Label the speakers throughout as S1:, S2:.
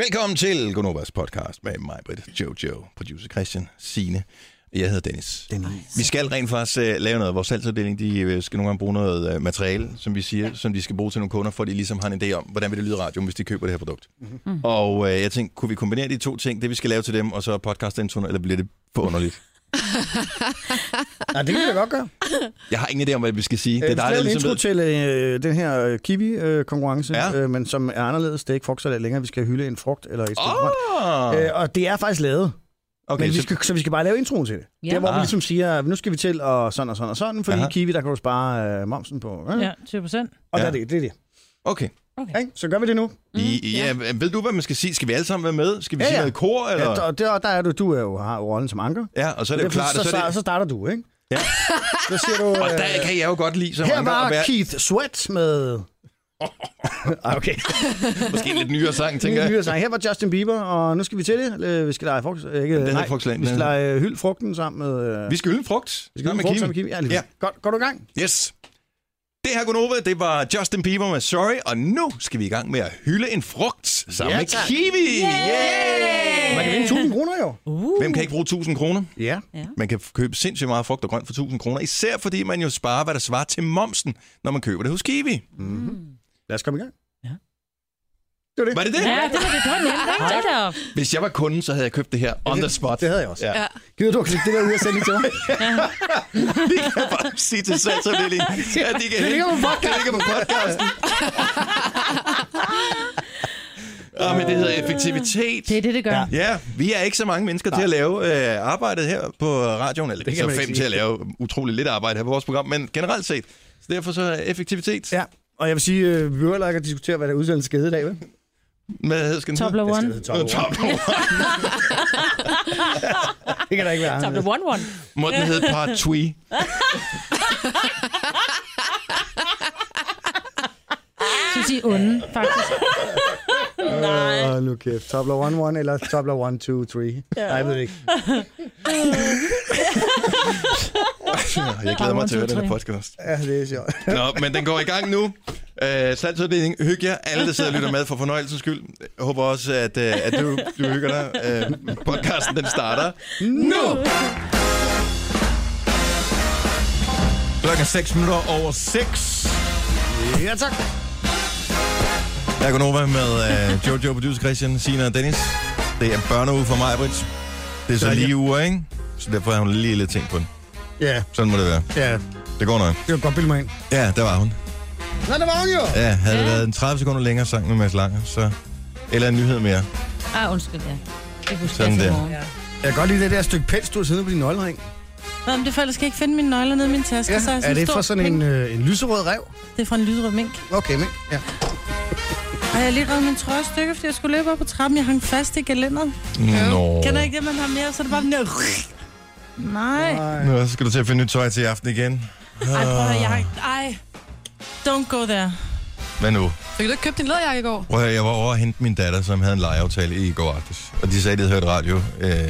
S1: Velkommen til Gonovas podcast med mig, Britt, Jojo, producer Christian, Sine. Jeg hedder Dennis.
S2: Dennis.
S1: Vi skal rent faktisk uh, lave noget. Vores salgsafdeling de, øh, skal nogle gange bruge noget uh, materiale, som vi siger, ja. som de skal bruge til nogle kunder, for at de ligesom har en idé om, hvordan vil det lyde i radioen, hvis de køber det her produkt. Mm-hmm. Og uh, jeg tænkte, kunne vi kombinere de to ting, det vi skal lave til dem, og så podcast eller bliver det for underligt?
S2: Ja, det kan jeg godt gøre.
S1: Jeg har ingen idé om, hvad vi skal sige.
S2: Det er
S1: dig,
S2: dejligt, en
S1: ligesom
S2: intro
S1: ved.
S2: til øh, den her øh, kiwi-konkurrence,
S1: Ja.
S2: ja. øh, men som er anderledes. Det er ikke frugtsalat længere. Vi skal hylde en frugt eller et stykke grønt.
S1: Åh!
S2: Øh, og det er faktisk lavet, okay,
S1: Okay,
S2: Øh, men vi
S1: så-
S2: skal, så... så vi skal bare lave introen til det.
S3: Ja.
S2: Der, hvor
S1: Ah.
S2: vi ligesom siger, at nu skal vi til og sådan og sådan og sådan, fordi
S1: Aha.
S2: Aha. kiwi, der kan du spare øh, momsen på. Øh? Ja.
S3: Ja, 20 procent.
S2: Og
S1: Ja.
S2: ja. der er det, det er det.
S1: okay.
S2: Okay. Så gør vi det nu.
S1: I, ja. ja, ved du, hvad man skal sige? Skal vi alle sammen være med? Skal vi
S2: Mm-hmm, Ja,
S1: sige
S2: ja.
S1: noget i kor? Eller?
S2: Ja, og der, der er du, du er jo, har jo rollen som anker.
S1: Ja, og så er det jo
S2: Derfor
S1: klart,
S2: så,
S1: at så
S2: så,
S1: er det...
S2: så starter du, ikke?
S1: Ja.
S2: Så siger du...
S1: Og
S2: øh,
S1: der kan jeg jo godt lide, som
S2: Her
S1: andre,
S2: var
S1: at være
S2: Keith Sweat med... Ah, okay.
S1: måske en lidt nyere sang, tænker
S2: Ny,
S1: jeg.
S2: nyere sang. Her var Justin Bieber, og nu skal vi til det. Øh, Vi skal lege frugt. øh, Ikke,
S1: Den hedder
S2: nej,
S1: frugtsalat,
S2: Vi skal
S1: den
S2: lege øh, hyld frugten sammen med... øh,
S1: Vi skal ylde frugt.
S2: vi skal
S1: Sammen
S2: hylde
S1: med
S2: frugt
S1: Kim.
S2: sammen med Kim. Ja, lige
S1: Ja.
S2: præs. Godt, går du i gang?
S1: Yes. Det her, Gunova, det var Justin Bieber med Sorry, og nu skal vi i gang med at hylde en frugt sammen
S2: Ja,
S1: med
S2: tak.
S1: kiwi.
S2: Man kan vinde 1000 kroner jo.
S1: Hvem kan ikke bruge 1000 kroner?
S2: Ja.
S1: Man kan købe sindssygt meget frugt og grønt for 1000 kroner, især fordi man jo sparer, hvad der svarer til momsen, når man køber det hos Kiwi.
S2: Lad os komme i gang.
S3: Ja.
S2: Det var det.
S1: Var det det?
S3: Ja, det var det, det var nemt. ikke? Hold da op.
S1: Hvis jeg var kunden, så havde jeg købt det her on the spot.
S2: Det havde jeg også.
S1: Ja.
S2: Ja. Gider du at klikke det der ud og sende det til mig?
S1: Vi kan bare sige til salgsafdelingen, at de kan
S2: Det ligger på
S1: podcasten. Det ligger på podcasten. Ah, men det hedder effektivitet.
S3: Det er det, det gør.
S2: Ja.
S1: Ja, vi er ikke så mange mennesker Nej. til at lave øh, arbejdet her på radioen. Eller det
S2: kan
S1: er
S2: man
S1: så
S2: ikke
S1: fem
S2: sige.
S1: til at lave utrolig lidt arbejde her på vores program, men generelt set. Så derfor så er effektivitet. Ja.
S2: Ja. Og jeg vil sige, øh, vi behøver heller ikke at diskutere, hvad der er udsendelse skede i dag, vel?
S1: Med, skal den hedde?
S3: Tobler one.
S2: hedde
S1: Nå, Tobler One.
S2: Det kan da ikke være
S3: Tobler
S2: anderledes.
S3: one one.
S1: Må den hedde Part Twee?
S3: Så vil sige onde, faktisk.
S2: Åh, nu kæft. Tabler 1-1 eller tabler 1-2-3? Ja. Nej, jeg ved det ikke.
S1: Jeg glæder mig til at høre den her
S3: Tobler One,
S1: podcast.
S2: Ja, det er sjovt.
S1: Nå, men den går i gang nu. Øh, Salgsuddeling, hyg jer. Alle, der sidder og lytter med for fornøjelsens skyld. Jeg håber også, at, øh, at du, du hygger dig. Øh, podcasten, den starter nu! Klokken 6 minutter over 6.
S2: Ja, tak.
S1: Jeg er Gunova med øh, Jojo, producer Christian, Sina og Dennis. Det er børneuge for mig, Brits. Det er så lige uger, ikke? Så derfor har hun lige lidt ting på den.
S2: Ja,
S1: Sådan må det være.
S2: ja.
S1: Det går nok.
S2: Det var godt bilde mig ind.
S1: Ja, der var hun.
S2: Nå, der var hun jo!
S1: Ja, havde det været en 30 sekunder længere sang med Mads Langer, så... Eller en nyhed mere.
S3: Ah, undskyld, ja. Det kunne
S1: Sådan
S3: Sådan der.
S1: der.
S3: Ja.
S2: Jeg kan godt lide det der stykke pels, du har siddende på din nøglering.
S4: Nå, men det er for, ellers kan jeg ikke finde mine nøgler nede i min taske. så Altså, jeg
S2: er det
S4: stor
S2: fra sådan en,
S4: penge.
S2: øh, en lyserød rev?
S4: Det er fra en lydrød mink.
S2: Okay, men ja.
S4: Og jeg har lige reddet min trøje i stykker, fordi jeg skulle løbe op på trappen. Jeg hang fast i gelænderet.
S1: Nå.
S4: Kender I ikke det, man har mere? Så er det bare den der... Nej.
S1: Nå, så skal du til at finde nyt tøj til i aften igen.
S4: Ej, prøv at høre, jeg hang... Ej. Don't go there.
S1: Hvad nu?
S5: Fik du ikke købt din læderjakke i går?
S1: Prøv at høre, jeg var over at hente min datter, som havde en legeaftale i går aftes. Og de sagde, at de havde hørt radio øh,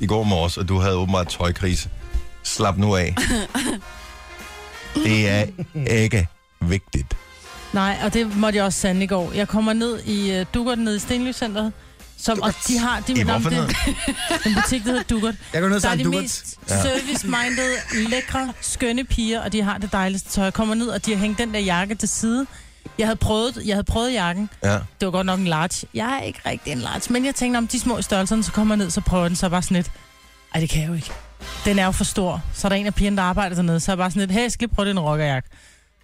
S1: i går morges, og du havde åbenbart tøjkrise. Slap nu af. det er ikke vigtigt.
S4: Nej, og det måtte jeg også sande i går. Jeg kommer ned i uh, Dugert, nede i Stenlyscenteret. Som, og de har... De,
S1: I
S4: Nå, men
S1: hvorfor
S4: det,
S1: noget?
S4: en butik, der hedder Dugert.
S2: Jeg går ned
S4: Der er
S2: sammen
S4: de
S2: dukkert.
S4: mest service-minded, lækre, skønne piger, og de har det dejligste tøj. Jeg kommer ned, og de har hængt den der jakke til side. Jeg havde prøvet, jeg havde prøvet jakken.
S1: Ja.
S4: Det var godt nok en large. Jeg er ikke rigtig en large, men jeg tænkte, om de små i størrelserne, så kommer jeg ned, så prøver jeg den, så er jeg bare sådan lidt. Ej, det kan jeg jo ikke. Den er jo for stor. Så er der en af pigerne, der arbejder dernede, så er jeg bare sådan lidt, hey, jeg skal lige prøve den rockerjakke.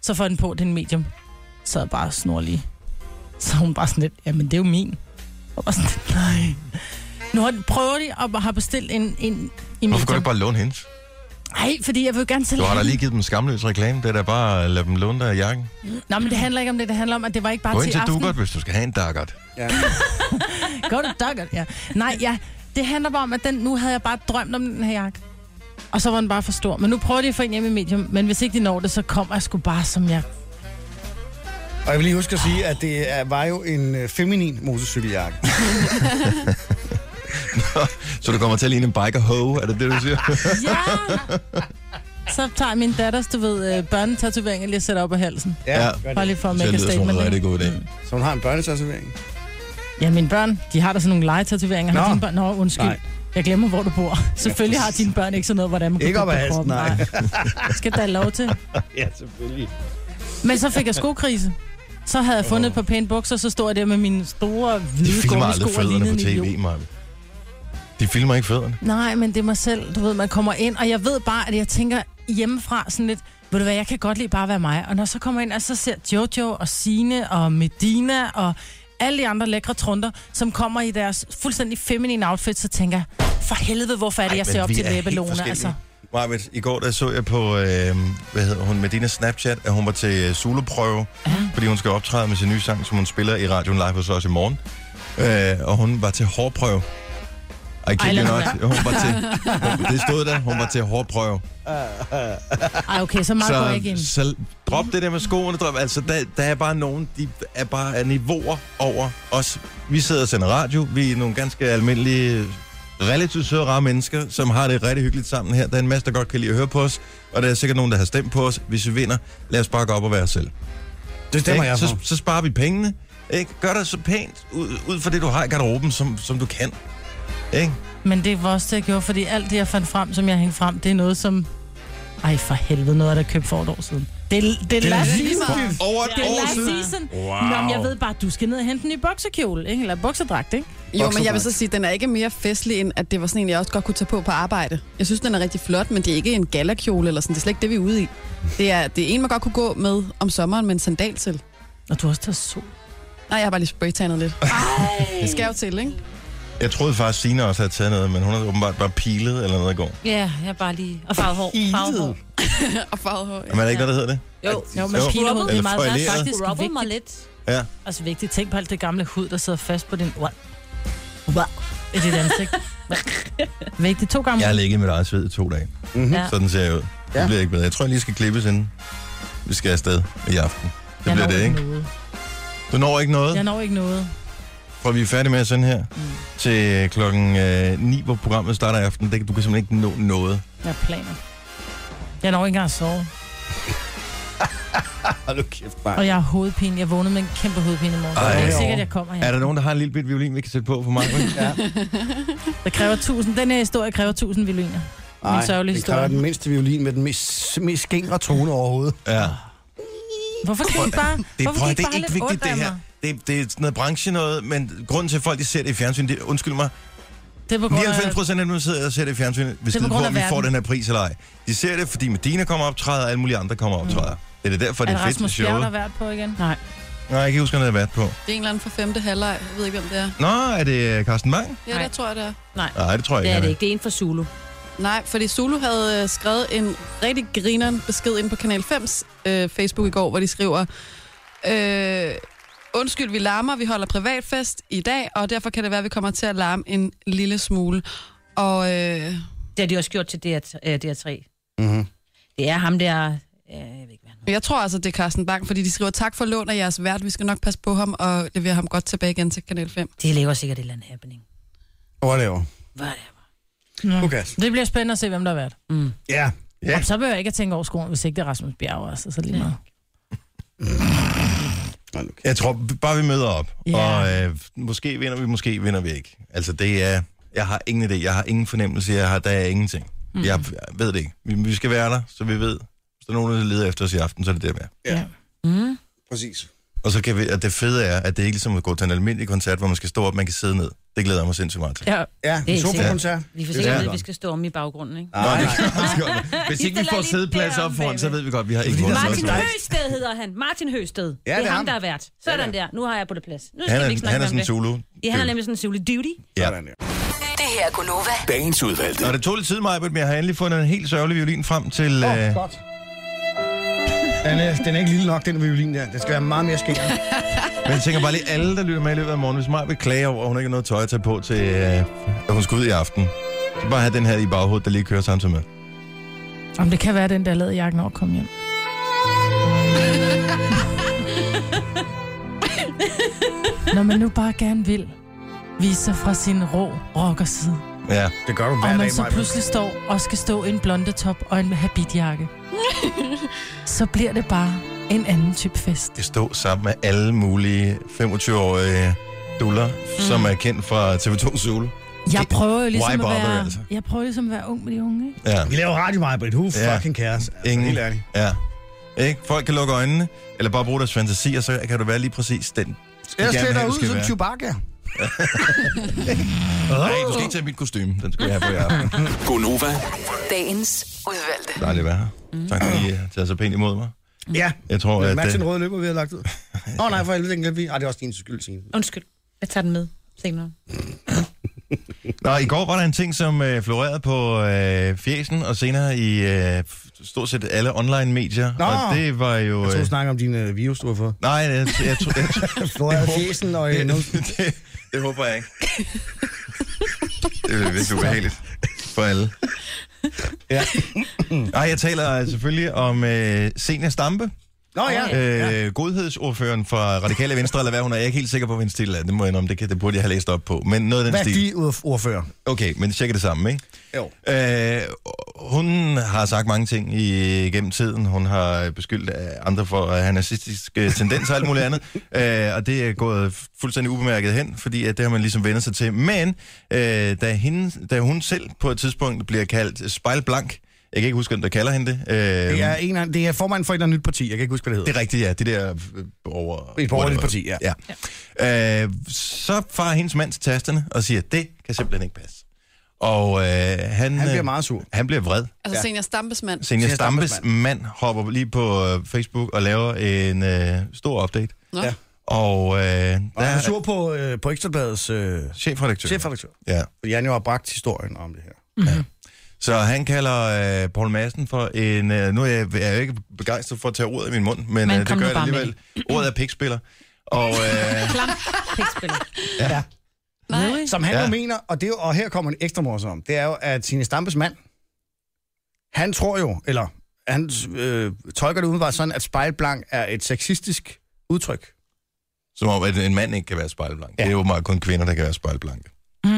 S4: Så får jeg den på, den medium. Så er jeg bare snorlig. Så er hun bare sådan lidt, jamen det er jo min. Og bare sådan lidt, nej. Nu har, prøver de og har bestilt en, en,
S1: Hvorfor kan
S4: en
S1: du
S4: medium.
S1: ikke bare låne hendes?
S4: Nej, fordi jeg vil jo gerne selv
S1: Du har da
S4: have
S1: lige givet dem en skamløs reklame. Det er da bare at lade dem låne dig i jakken.
S4: den. Nå, men det handler ikke om det. Det handler om, at det var ikke bare
S1: Gå ind
S4: til
S1: til
S4: aften.
S1: Dugert, hvis du skal have en dukkert.
S4: Gå til Duggart, ja. Nej, ja. Det handler bare om, at den, nu havde jeg bare drømt om den her jakke. Og så var den bare for stor. Men nu prøver de at få en hjem i medium. Men hvis ikke de når det, så kommer jeg sgu bare som jeg.
S2: Og jeg vil lige huske at sige, at det er, var jo en øh, feminin motorcykeljakke.
S1: Så du kommer til at ligne en biker hoe, er det det, du siger?
S4: Ja! Så tager jeg min datters, du ved, øh, børnetatovering og lige sætter op af halsen.
S1: Ja.
S2: gør det.
S4: Bare lige for at
S1: Så
S4: make a
S1: lyder som en
S4: statement.
S1: rigtig
S4: ikke?
S1: god idé.
S2: Så hun har en børnetatovering.
S4: Ja, mine børn, de har da sådan nogle legetatoveringer. Har
S6: Nå.
S4: dine børn? Nå, undskyld.
S6: Nej.
S4: Nej. Jeg glemmer, hvor du bor. Selvfølgelig har dine børn ikke sådan noget, hvordan man
S6: Ikke
S4: gå
S6: op ad
S4: på
S6: halsen,
S4: kroppen.
S6: nej.
S4: Nej. Skal der lov til.
S6: Ja, selvfølgelig.
S4: Men så fik jeg skokrise. Så havde jeg fundet et par pæne bukser, så stod jeg der med mine store,
S1: De
S4: hvide
S1: filmer
S4: gummisko
S1: aldrig
S4: og
S1: fødderne
S4: lignede
S1: på
S4: en idiot.
S1: tv, Maja. De filmer ikke fødderne.
S4: Nej, men det er mig selv. Du ved, man kommer ind, og jeg ved bare, at jeg tænker hjemmefra sådan lidt, ved du hvad, jeg kan godt lide bare at være mig. Og når jeg så kommer ind, og så ser Jojo og Sine og Medina og alle de andre lækre trunder, som kommer i deres fuldstændig feminine outfit, så tænker jeg, for helvede, hvorfor er det, jeg
S1: men
S4: ser op
S1: vi
S4: til
S1: er helt
S4: læbelåne,
S1: forskellige.
S4: altså.
S1: Marvitt, i går der så jeg på, øh, hvad hedder hun, Medina Snapchat, at hun var til øh, soloprøve, ja. fordi hun skal optræde med sin nye sang, som hun spiller i radioen live hos os i morgen. Øh, og hun var til hårprøve. I kid you
S4: lad
S1: not.
S4: være.
S1: Hun var til, det stod der, hun var til hårprøve.
S4: Ej, okay, så meget går jeg ikke
S1: Så,
S4: ind.
S1: så drop det der med skoene, drop, altså der, der er bare nogen, de er bare er niveauer over os. Vi sidder og sender radio, vi er nogle ganske almindelige, relativt søde rare mennesker, som har det rigtig hyggeligt sammen her. Der er en masse, der godt kan lide at høre på os, og der er sikkert nogen, der har stemt på os. Hvis vi vinder, lad os bare gå op og være os selv.
S6: Det stemmer
S1: Ikke?
S6: jeg
S1: så,
S6: for.
S1: så sparer vi pengene. Ikke? Gør dig så pænt ud, ud fra det, du har i garderoben, som, som du kan. Ikke?
S4: Men det var også det, jeg gjorde, fordi alt det, jeg fandt frem, som jeg hængte frem, det er noget, som... Ej, for helvede, noget, der købt for et år siden. Det, er- det, det er last season.
S1: Over et
S4: Det er
S1: år
S4: last
S1: siden.
S4: season. Wow. Nå, men jeg ved bare, at du skal ned og hente en ny boksekjole, ikke? Eller boksedragt, ikke?
S7: Jo, men jeg vil så sige, at den er ikke mere festlig, end at det var sådan en, jeg også godt kunne tage på på arbejde. Jeg synes, den er rigtig flot, men det er ikke en galakjole eller sådan. Det er slet ikke det, vi er ude i. Det er, det er en, man godt kunne gå med om sommeren med en sandal til.
S4: Og du har også taget sol.
S7: Nej, jeg har bare lige spraytannet lidt. Det skal jo til, ikke?
S1: Jeg troede faktisk, Signe også havde taget noget, men hun havde åbenbart bare pilet eller noget i går.
S8: Ja, jeg er bare lige... Og farvet hår. Farvet hår.
S7: Og farvet hår.
S1: Men er det ikke noget, der hedder det?
S8: Jo,
S4: Jo, men
S1: Jo,
S4: pilerhud, det
S1: eller
S4: er meget
S1: foileret.
S4: værd, faktisk
S8: rubbede mig
S4: vigtigt.
S8: lidt.
S1: Ja.
S4: Altså vigtigt. Tænk på alt det gamle hud, der sidder fast på din... Wow. Wow. I dit ansigt. vigtigt. To gange.
S1: Jeg har ligget i mit eget sved i to dage.
S6: Mm-hmm.
S4: Ja.
S1: Sådan ser jeg ud. Det
S6: Ja.
S1: bliver ikke bedre. Jeg tror, jeg lige skal klippes inden. Vi skal afsted i aften. Det
S4: jeg
S1: bliver
S4: når
S1: det, ikke?
S4: Noget.
S1: Du når ikke noget,
S4: Jeg når ikke noget.
S1: for vi er færdige med sådan her
S4: Mm.
S1: til klokken øh, 9, hvor programmet starter i aften. Det, du kan simpelthen ikke nå noget.
S4: Jeg har planer. Jeg når ikke engang at sove.
S6: Hold nu kæft, bare.
S4: Og jeg har hovedpine. Jeg vågnede med en kæmpe hovedpine i morgen.
S1: Ej.
S4: Ej, det er ikke sikkert, at jeg kommer her.
S1: Er der nogen, der har en lille bit violin, vi kan sætte på for mig?
S6: Ja.
S4: Der kræver tusind. Den her historie kræver tusind violiner.
S6: Nej,
S4: sørgelige
S6: det kræver
S4: historie.
S6: den mindste violin med den mest, mest skængre tone overhovedet.
S1: ja.
S4: Hvorfor kan I bare...
S1: Det,
S4: hvorfor
S1: prøv,
S4: kan I
S1: det er
S4: bare
S1: ikke
S4: lidt
S1: vigtigt,
S4: ondt af
S1: det her.
S4: mig?
S1: Det, det er sådan noget branche noget, men grunden til, at folk de ser det i fjernsyn, det, undskyld mig,
S4: Det er på grund af...
S1: 99 procent af dem der sidder og ser det i fjernsynet, hvis
S4: på
S1: det er på,
S4: grund
S1: om
S4: af
S1: vi får
S4: verden.
S1: den her pris eller ej. De ser det, fordi Medina kommer og optræder, og alle mulige andre kommer og optræder. Mm. Det er det derfor,
S4: Er
S1: det
S4: det
S1: er fedt med
S4: Rasmus Bjerg,
S1: showet.
S4: der er vært på igen?
S7: Nej.
S1: Nej, jeg kan ikke huske, hvad han havde været på.
S7: Det er en eller anden for femte halvleg. Jeg ved ikke, hvem det er.
S1: Nå, er det øh, Carsten Bang?
S7: Ja,
S8: Nej.
S7: der tror jeg, det er.
S1: Nej, det tror jeg
S8: Det
S1: ikke.
S8: er
S1: han
S8: det ikke. Det er en for Zulu.
S7: Nej, fordi Zulu havde øh, skrevet en rigtig grineren besked ind på Kanal 5's øh, Facebook i går, hvor de skriver, øh, undskyld, vi larmer, vi holder privatfest i dag, og derfor kan det være, at vi kommer til at larme en lille smule. Og øh,
S8: Det har de også gjort til DR, øh, DR3.
S6: Mm-hmm.
S8: Det er ham der... Øh, jeg ved ikke, hvad han hedder.
S7: jeg tror altså, det er Carsten Bang, fordi de skriver, tak for lån af jeres vært, vi skal nok passe på ham og levere ham godt tilbage igen til Kanal 5.
S8: De laver sikkert et eller andet happening.
S6: Whatever.
S8: Hvad er det?
S4: Nå.
S6: Okay.
S4: Det bliver spændende at se, hvem der er vært.
S8: Mm.
S6: Ja.
S1: Ja.
S4: Og så behøver jeg ikke at tænke over skolen, hvis ikke det er Rasmus Bjerg også. Så lige meget.
S6: Hold nu kæft.
S1: Jeg tror bare, vi møder op.
S4: Ja.
S1: Og øh, måske vinder vi, måske vinder vi ikke. Altså, det er... Jeg har ingen idé. Jeg har ingen fornemmelse. Jeg har, der er ingenting. Mm. Jeg, jeg ved det ikke. Vi, vi skal være der, så vi ved. Hvis der er nogen, der leder efter os i aften, så er det der med.
S6: Ja.
S8: Mm.
S6: Præcis.
S1: Og så kan vi, at det fede er, at det ikke er ligesom at gå til en almindelig koncert, hvor man skal stå op, man kan sidde ned. Det glæder jeg mig sindssygt meget til.
S4: Ja.
S6: Ja,
S8: Det er
S6: en
S8: ikke
S6: sofakoncert.
S8: Vi får
S6: Det er
S8: sikkert
S1: svært.
S8: ved, at vi skal stå om i baggrunden, ikke?
S1: Nå,
S6: Nej,
S1: det
S6: nej.
S1: kan vi også godt. Hvis
S8: I
S1: ikke vi
S8: stiller
S1: får
S8: lige
S1: sædeplads op
S8: derom
S1: foran, så
S8: bagved.
S1: ved vi godt, at vi har ikke
S6: Fordi
S1: vundet
S6: der er
S1: noget.
S8: Martin
S6: sådan en-
S8: Høsted hedder han. Martin Høsted.
S6: Ja,
S8: Ja, det
S6: det
S8: er
S6: er
S8: ham,
S6: ham.
S8: der er vært. Sådan der. Nu har jeg på det plads. Nu skal
S1: Han
S8: vi ikke
S1: er,
S8: snakke
S1: han er
S8: mere om
S1: sådan en
S8: det.
S1: Zulu.
S8: Ja, han er nemlig sådan en Zulu Duty.
S1: Ja.
S6: Sådan, ja.
S2: Det her er Gunova.
S9: Dagens udvalgte.
S1: Nå, det tog lidt tid, Maja, men jeg har endelig fundet en helt sørgelig violin frem til...
S6: Åh,
S1: Øh,
S6: godt. Den er, den er ikke lille nok, den violin der. Den skal være meget mere skængere.
S1: men jeg tænker bare lige, alle, der lytter med i løbet af morgen, hvis Maja vil klage over, at hun ikke har noget tøj at tage på til, øh, at hun skal ud i aften, så bare have den her i baghovedet, der lige kører samtidig med.
S4: Om det kan være den, der lavede jakken over at komme hjem. Når man nu bare gerne vil vise sig fra sin rå rockerside.
S1: Ja,
S6: Det gør du hver
S4: Og man
S6: dag,
S4: så
S6: Maja.
S4: pludselig står og skal stå i en blonde top og en habitjakke. så bliver det bare en anden type fest.
S1: det stå sammen med alle mulige 25-årige Abdullah, mm. som er kendt fra TV2 Zulu.
S4: Jeg prøver jo
S1: Why
S4: ligesom at
S1: bother,
S4: være...
S1: altså?
S4: Jeg prøver ligesom at være ung med de unge, ikke?
S1: Ja.
S2: Vi laver radio meget, Britt. Who
S1: Ja.
S2: fucking cares? Altså,
S1: Ingen.
S2: Helt ærligt.
S1: Ja. Ikke? Folk kan lukke øjnene, eller bare bruge deres fantasi, og så kan du være lige præcis den. Skal
S9: Jeg
S1: gerne
S9: ser
S1: have,
S9: dig
S1: du
S9: ud
S1: skal
S9: som
S1: være.
S9: Chewbacca.
S1: Nej, du skal ikke tage mit kostume. Den skal jeg have på i aften.
S10: Gonova,
S11: Dagens udvalgte.
S1: Dejligt at være her. Tak fordi I har taget så pænt imod mig.
S2: Ja.
S1: Jeg tror, at...
S2: Match den
S1: øh,
S2: røde løber, vi har lagt ud. Åh oh, nej, for helvede, den glemte vi. Ej, det er også din skyld, Signe.
S8: Undskyld, jeg tager den med senere.
S1: Nå, i går var der en ting, som øh, florerede på øh, fjesen, og senere i øh, stort set alle online-medier.
S2: Nå.
S1: Og det var jo...
S2: Jeg tror,
S1: Øh,
S2: du snakker om din øh, virus, du har fået.
S1: nej, jeg, jeg, jeg, jeg, jeg,
S2: Florida fjesen og øh, nogen-
S1: det, det, det håber jeg ikke. Det er virkelig ubehageligt for alle.
S2: Ja.
S1: Nej, jeg taler selvfølgelig om øh, Senior Stampe,
S2: Nå ja.
S1: øh, godhedsordføreren fra Radikale Venstre, eller hvad hun er. Jeg er ikke helt sikker på, hvad hendes titel er. Det må jeg indrømme, det, kan, det burde jeg have læst op på. Men noget af den
S9: Hvad er
S1: stil.
S9: de ud- ordfører?
S1: Okay, men cirka det samme, ikke?
S2: Jo.
S1: Øh, hun har sagt mange ting i, gennem tiden. Hun har beskyldt øh, andre for at have nazistiske tendenser og alt muligt andet. Øh, og det er gået fuldstændig ubemærket hen, fordi at det har man ligesom vendt sig til. Men øh, da, hende, da hun selv på et tidspunkt bliver kaldt spejlblank, jeg kan ikke huske, hvem der kalder hende det. Øh,
S2: Det er, en, af- det er formanden for et eller andet nyt parti. Jeg kan ikke huske, hvad det hedder.
S1: det er rigtigt, ja. Det der øh, over...
S2: Et borgerligt
S1: whatever.
S2: parti, ja.
S1: ja. ja. Øh, så farer hendes mand til tasterne og siger, det kan simpelthen ikke passe. Og øh, han,
S2: Han bliver
S1: øh,
S2: meget sur.
S1: han bliver vred.
S7: Altså senior stampesmand.
S1: Senior
S2: Zenia Stampes
S1: Stampes mand hopper lige på øh, Facebook og laver en øh, stor update.
S7: Nå.
S2: Ja.
S1: Og øh, der
S2: Og han er
S1: er
S2: sur på, øh, på Ekstrabladets øh,
S1: chefredaktør.
S2: chefredaktør.
S1: Ja.
S2: Fordi han jo har bragt historien om det her.
S1: Så han kalder øh, Paul Madsen for en... Øh, nu er jeg, jeg er jo ikke begejstret for at tage ordet i min mund, men
S8: Men
S1: øh, det
S8: kom
S1: gør
S8: nu
S1: jeg
S8: bare med
S1: alligevel. Ordet er pikspiller. Og øh,
S8: Klam pikspiller.
S7: Nej.
S2: Som han
S1: Ja.
S2: ja. jo mener, og, det er jo, og her kommer en ekstra morsom, det er jo, at Signe Stampes mand, han tror jo, eller han øh, tolker det udenbart sådan, at spejlblank er et sexistisk udtryk,
S1: som om, at en mand ikke kan være spejlblank. Ja. Det er jo meget kun kvinder, der kan være spejlblanke.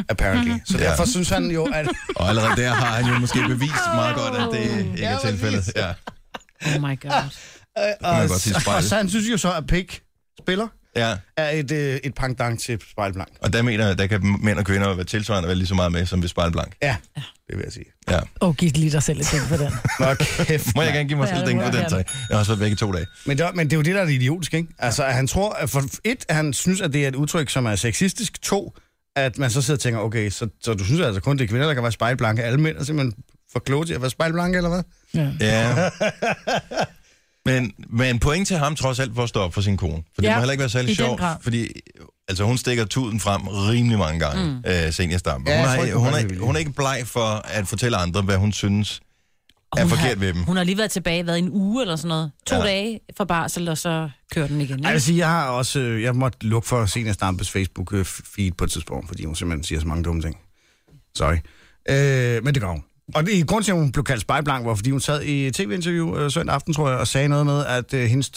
S2: apparently. Mm-hmm. Så
S1: Ja.
S2: derfor synes han jo, at... øh,
S1: Og allerede der har han jo måske bevist meget godt, at det ikke er tilfældet. Ja.
S8: Oh my god.
S2: Øh,
S1: man
S2: og,
S1: godt sige
S2: og,
S1: spejl.
S2: og så han synes jo så, at pik spiller
S1: ja.
S2: er et, øh, et pangdang til spejlblank.
S1: Og der mener jeg, at der kan mænd og kvinder være tilsvarende være lige så meget med, som ved spejlblank.
S2: Ja, det vil jeg sige.
S1: Ja.
S4: Åh, oh, giv lige dig selv et ting for den.
S2: Nå, kæft,
S1: Må jeg
S2: mand.
S1: gerne give mig
S4: Ja,
S1: selv
S4: det
S1: den
S4: må
S1: på den
S4: jeg
S1: tag? Jeg har også været væk i to dage.
S2: Men det, er- men det er jo det, der er det idiotiske, ikke? Altså, at han tror, at for et, at han synes, at det er et udtryk, som er sexistisk. To, at man så sidder og tænker, okay, så, så du synes altså kun, det er kvinder, der kan være spejlblanke. Alle mænd er simpelthen for kloge til at være spejlblanke, eller hvad?
S1: Ja. Men, men point til ham trods alt for at stå op for sin kone. For det
S4: Ja,
S1: må heller ikke være
S4: i
S1: særlig
S4: den
S1: sjovt,
S4: grad.
S1: fordi altså, hun stikker tuden frem rimelig mange gange, mm. øh, senior Stampe.
S2: Ja,
S1: Hun,
S2: jeg
S1: har,
S2: tror ikke,
S1: hun,
S2: hun gør det
S1: er,
S2: vildt.
S1: hun er ikke bleg for at fortælle andre, hvad hun synes er
S8: Hun
S1: forkert
S8: har,
S1: ved dem.
S8: Hun har lige været tilbage, været en uge eller sådan noget. To
S1: Ja.
S8: ja. dage fra barsel, og så kører den igen.
S2: Jeg vil
S8: Altså,
S2: sige, jeg har også, øh, jeg måtte lukke for Senior Stampes Facebook-feed på et tidspunkt, fordi hun simpelthen siger så mange dumme ting. Sorry. Øh, men det gør hun. Og det, grunden til, at hun blev kaldt spejlblank, var, fordi hun sad i et tv-interview øh, søndag aften, tror jeg, og sagde noget med, at øh, hendes,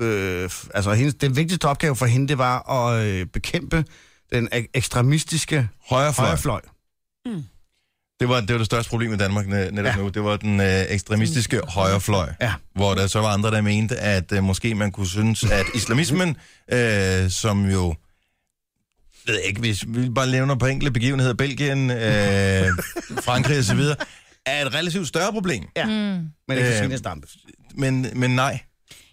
S2: øh, f- altså, hendes, den vigtigste opgave for hende, det var at øh, bekæmpe den ek- ekstremistiske
S1: Højrefløj.
S2: højrefløj.
S1: Det var, det var det største problem i Danmark ne- netop ja.
S2: Ja.
S1: nu. Det var den øh, ekstremistiske højrefløj,
S2: Ja.
S1: hvor der så var andre, der mente, at øh, måske man kunne synes, at islamismen, øh, som jo, ved jeg ikke, hvis vi bare nævner på enkelte begivenheder, Belgien, øh, Frankrig osv., er et relativt større problem.
S2: Ja. Mm. Men ikke
S1: Øh,
S2: øh, Senior Stampes.
S1: Men, men nej.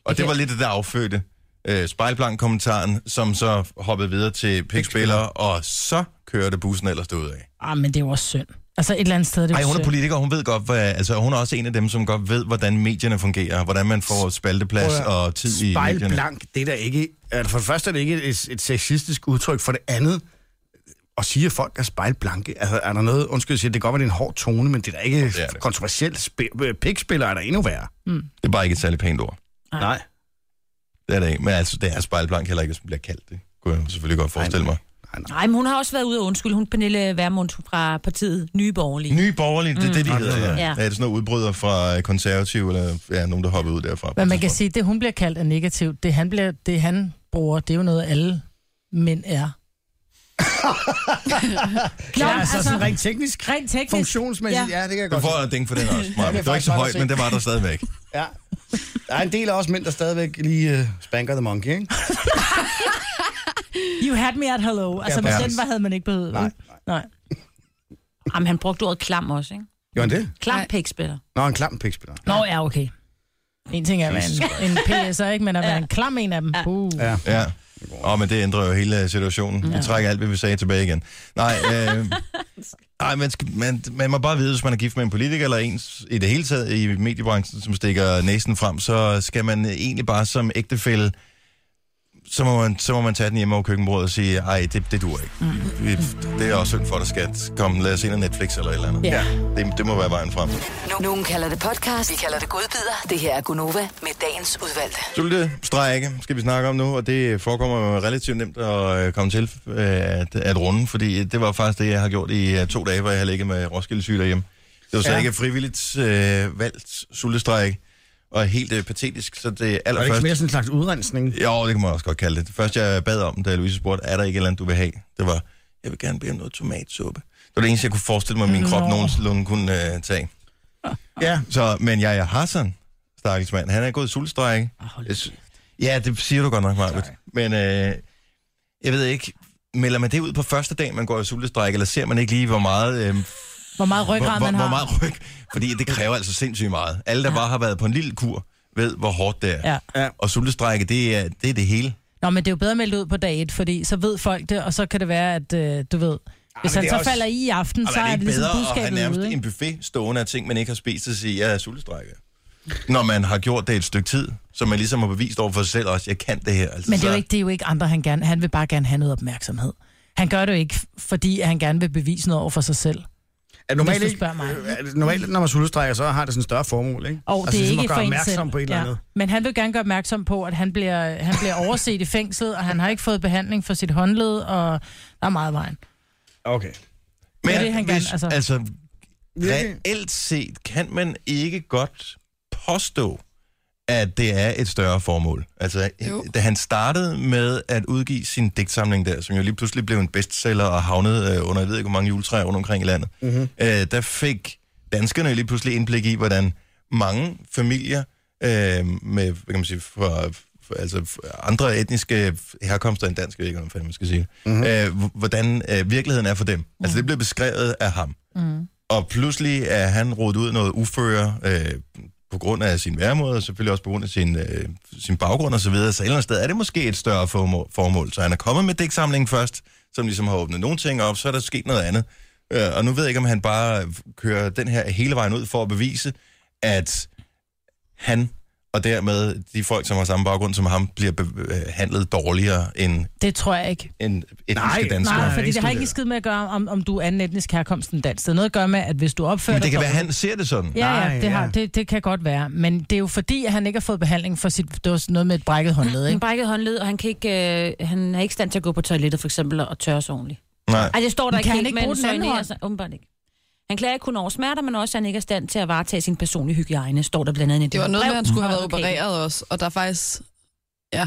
S1: Og det var lidt det, der affødte øh, spejlblank-kommentaren, som så hoppede videre til pikspiller, og så kørte bussen ellers af.
S4: Ah, men det er jo også synd. Altså et eller andet sted, det er
S1: Nej,
S4: jo
S1: hun
S2: øh,
S1: er
S4: synd.
S1: politiker, hun ved godt, hvad, altså hun er også en af dem, som godt ved, hvordan medierne fungerer, hvordan man får spalteplads
S2: Prøv at høre.
S1: og tid i medierne.
S2: Spejlblank, det er da ikke... Altså for det første er det ikke et, et sexistisk udtryk, for det andet at sige, at folk er spejlblanke. Altså, er der noget... Undskyld, jeg siger, det kan godt være, det er en hård tone, men det er da ikke det
S1: er
S2: er
S1: det.
S2: det. kontroversielt. Sp- øh, Pikspiller er der endnu værre.
S1: Det er bare ikke et særligt pænt ord.
S2: Nej.
S1: Det er det ikke. Men altså, det er spejlblank heller ikke, som bliver kaldt det. Kunne jeg selvfølgelig godt forestille mig.
S8: Nej, men hun har også været ude og undskylde. Hun Pernille Vermund fra partiet Nye Borgerlige.
S1: Nye borgerlige, det er
S2: Mm.
S1: det, de hedder. Ja.
S8: Ja.
S1: Ja, det er sådan noget udbryder fra øh, konservative, eller ja, nogen, der hoppede ud derfra.
S4: Men man kan sige, det hun bliver kaldt er negativt. Det han, bliver, det han bruger, det er jo noget, alle mænd er.
S2: Ja,
S4: Klar,
S2: altså, altså, sådan rent teknisk,
S4: rent teknisk.
S2: funktionsmæssigt, ja, ja det kan jeg
S1: Du
S2: godt
S1: får
S2: se.
S1: at dænke for den også, Maja.
S2: Ja, det er
S1: Det var ikke
S2: faktisk
S1: så
S2: godt
S1: højt,
S2: at se.
S1: men det var der stadigvæk.
S2: Ja. øh, Der er en del af os mænd, der stadigvæk lige uh, spanker the monkey, ikke?
S4: You had me at hello. Altså,
S2: Ja,
S4: med
S2: præcis.
S4: den var, havde man ikke behøvet.
S2: Nej.
S4: vel? Nej.
S8: Jamen, han brugte ordet klam også, ikke?
S2: Gjorde han det?
S8: Klam
S7: Nej.
S8: pækspiller.
S2: Nå, en klam pikspiller.
S4: Nå, ja, okay. En ting er at være
S2: Jesus
S4: en, en PS'er, ikke? Men at være en klam en af dem. Uh.
S2: Ja.
S1: Ja. Åh, men det ændrer jo hele situationen. Vi trækker alt, hvad vi sagde tilbage igen. Nej, øh, ej, man, skal, man, man må bare vide, hvis man er gift med en politiker eller en s- i det hele taget i mediebranchen, som stikker næsen frem, så skal man øh, egentlig bare som ægtefælde, så må man, så må man tage den hjemme over køkkenbordet og sige, ej, det, det dur ikke. Vi, det er også synd for dig, skat. Kom, lad os se noget Netflix eller et eller andet.
S8: Ja.
S1: Det, det må være vejen frem.
S11: Nu- Nogen kalder det podcast, vi kalder det godbider. Det her er Gunova med dagens udvalgte.
S1: Sultestrække skal vi snakke om nu, og det forekommer jo relativt nemt at øh, komme til øh, at, at runde, fordi det var faktisk det, jeg har gjort i øh, to dage, hvor jeg har ligget med Roskilde syg derhjemme. Det var så ja.
S2: Ja.
S1: ikke frivilligt øh, valgt sultestrække, og helt øh, patetisk, så det
S2: Var det ikke
S1: allerførste...
S2: mere sådan en slags udrensning?
S1: Jo, det kan man også godt kalde det. Det første, jeg bad om, da Louise spurgte, er der ikke et eller andet, du vil have? Det var, jeg vil gerne bede om noget tomatsuppe. Det var det eneste, jeg kunne forestille mig, at min krop
S4: Nå.
S1: nogenlunde kunne øh, tage.
S2: Ja.
S1: Så, men jeg er Hassan, stakkels mand. Han er gået i sultstrække. Jeg sy- Ja, det siger du godt nok, Marvitt. Men øh, jeg ved ikke, melder man det ud på første dag, man går i sultestrække, eller ser man ikke lige, hvor meget, øh,
S4: Hvor meget
S1: hvor,
S4: ryggrad
S1: hvor,
S4: man har.
S1: hvor meget ryg? Fordi det kræver altså sindssygt meget. Alle, der ja. bare har været på en lille kur, ved, hvor hårdt det er.
S4: Ja.
S2: Ja.
S1: Og sultestrække, det er det, er det hele.
S4: Nå, men det er jo bedre meldt ud på dag et, fordi så ved folk det, og så kan det være, at øh, du ved... Hvis
S2: men
S4: han
S2: det er
S4: så
S2: også-
S4: også... falder i i aften,
S1: Og
S4: så
S1: er det
S4: er
S1: ikke
S4: det ligesom
S1: bedre at have
S4: budskabet
S1: nærmest
S4: ude.
S1: en
S4: ikke?
S1: buffet stående af ting, man ikke har spist, og sige, jeg er sultestrække? Når man har gjort det et stykke tid, så man ligesom har bevist over for sig selv også, jeg kan det her. Altså,
S4: Men det er, jo
S1: så-
S4: ikke, det er jo ikke andre, han gerne... Han vil bare gerne have noget opmærksomhed. Han gør det jo ikke, fordi han gerne vil bevise noget over for sig selv.
S2: Er normalt,
S4: Hvis du
S2: ikke,
S4: spørger mig.
S2: øh, er det normalt, når man sultestrækker, så har det sådan en større formål, ikke?
S4: Og altså, det er
S2: ligesom
S4: ikke
S2: at gøre
S4: for en
S2: opmærksom
S4: selv.
S2: på et eller andet.
S4: Men han vil gerne gøre opmærksom på, at han bliver, han bliver overset i fængslet, og han har ikke fået behandling for sit håndled, og der er meget vejen.
S2: Okay.
S1: Men
S4: Det er det, han
S1: hvis,
S4: gerne- altså-
S1: altså,
S2: Virkelig?
S1: reelt set kan man ikke godt påstå, at det er et større formål. Altså,
S7: Jo.
S1: da han startede med at udgive sin digtsamling der, som jo lige pludselig blev en bestseller og havnede øh, under, jeg ved ikke, hvor mange juletræer rundt omkring i landet, mm-hmm. øh, der fik danskerne lige pludselig indblik i, hvordan mange familier øh, med, hvad kan man sige, fra, fra- altså fra andre etniske herkomster end dansk, jeg ved ikke, hvordan man skal sige det, mm-hmm. øh, h- hvordan øh, virkeligheden er for dem. Mm-hmm. Altså, det blev beskrevet af ham. Og pludselig er han rodet ud af noget uføre øh, på grund af sin væremåde, og selvfølgelig også på grund af sin, øh, sin baggrund osv. Så, videre. så et eller andet sted er det måske et større formål, formål. Så han er kommet med digtsamlingen først, som ligesom har åbnet nogle ting op, så er der sket noget andet. Øh, og nu ved jeg ikke, om han bare kører den her hele vejen ud for at bevise, at han og dermed de folk, som har samme baggrund som ham, bliver behandlet dårligere end,
S4: Det tror jeg ikke.
S1: end etniske
S2: Nej,
S1: danskere.
S4: Nej,
S2: jeg
S4: fordi
S2: ikke
S4: det har ikke
S2: studeret.
S4: skid med at gøre, om, om du er anden etnisk herkomst end dansk. Det har noget at gøre med, at hvis du opfører
S1: Men det
S4: dig
S1: kan være,
S4: dårligt-
S1: han ser det sådan.
S4: Ja,
S2: Nej,
S4: ja, det, har,
S2: ja.
S4: det, det kan godt være. Men det er jo fordi, at han ikke har fået behandling for sit... Det var sådan noget med et brækket håndled,
S8: Han
S4: ikke?
S8: brækkede håndled, og han, kan ikke, øh, han er ikke i stand til at gå på toilettet, for eksempel, og tørre sig ordentligt.
S1: Nej.
S8: Ej, det står der
S4: Men
S8: ikke
S4: kan han
S8: helt,
S4: ikke
S8: men
S4: bruge den anden
S8: soignerer
S4: hånd?
S8: sig- åbenbart ikke. Han klager ikke kun over smerter, men også, at han ikke er i stand til at varetage sin personlige hygiejne, står der blandt andet i
S7: Det var noget med, at han skulle have været
S8: Okay.
S7: opereret også, og der er faktisk... Ja,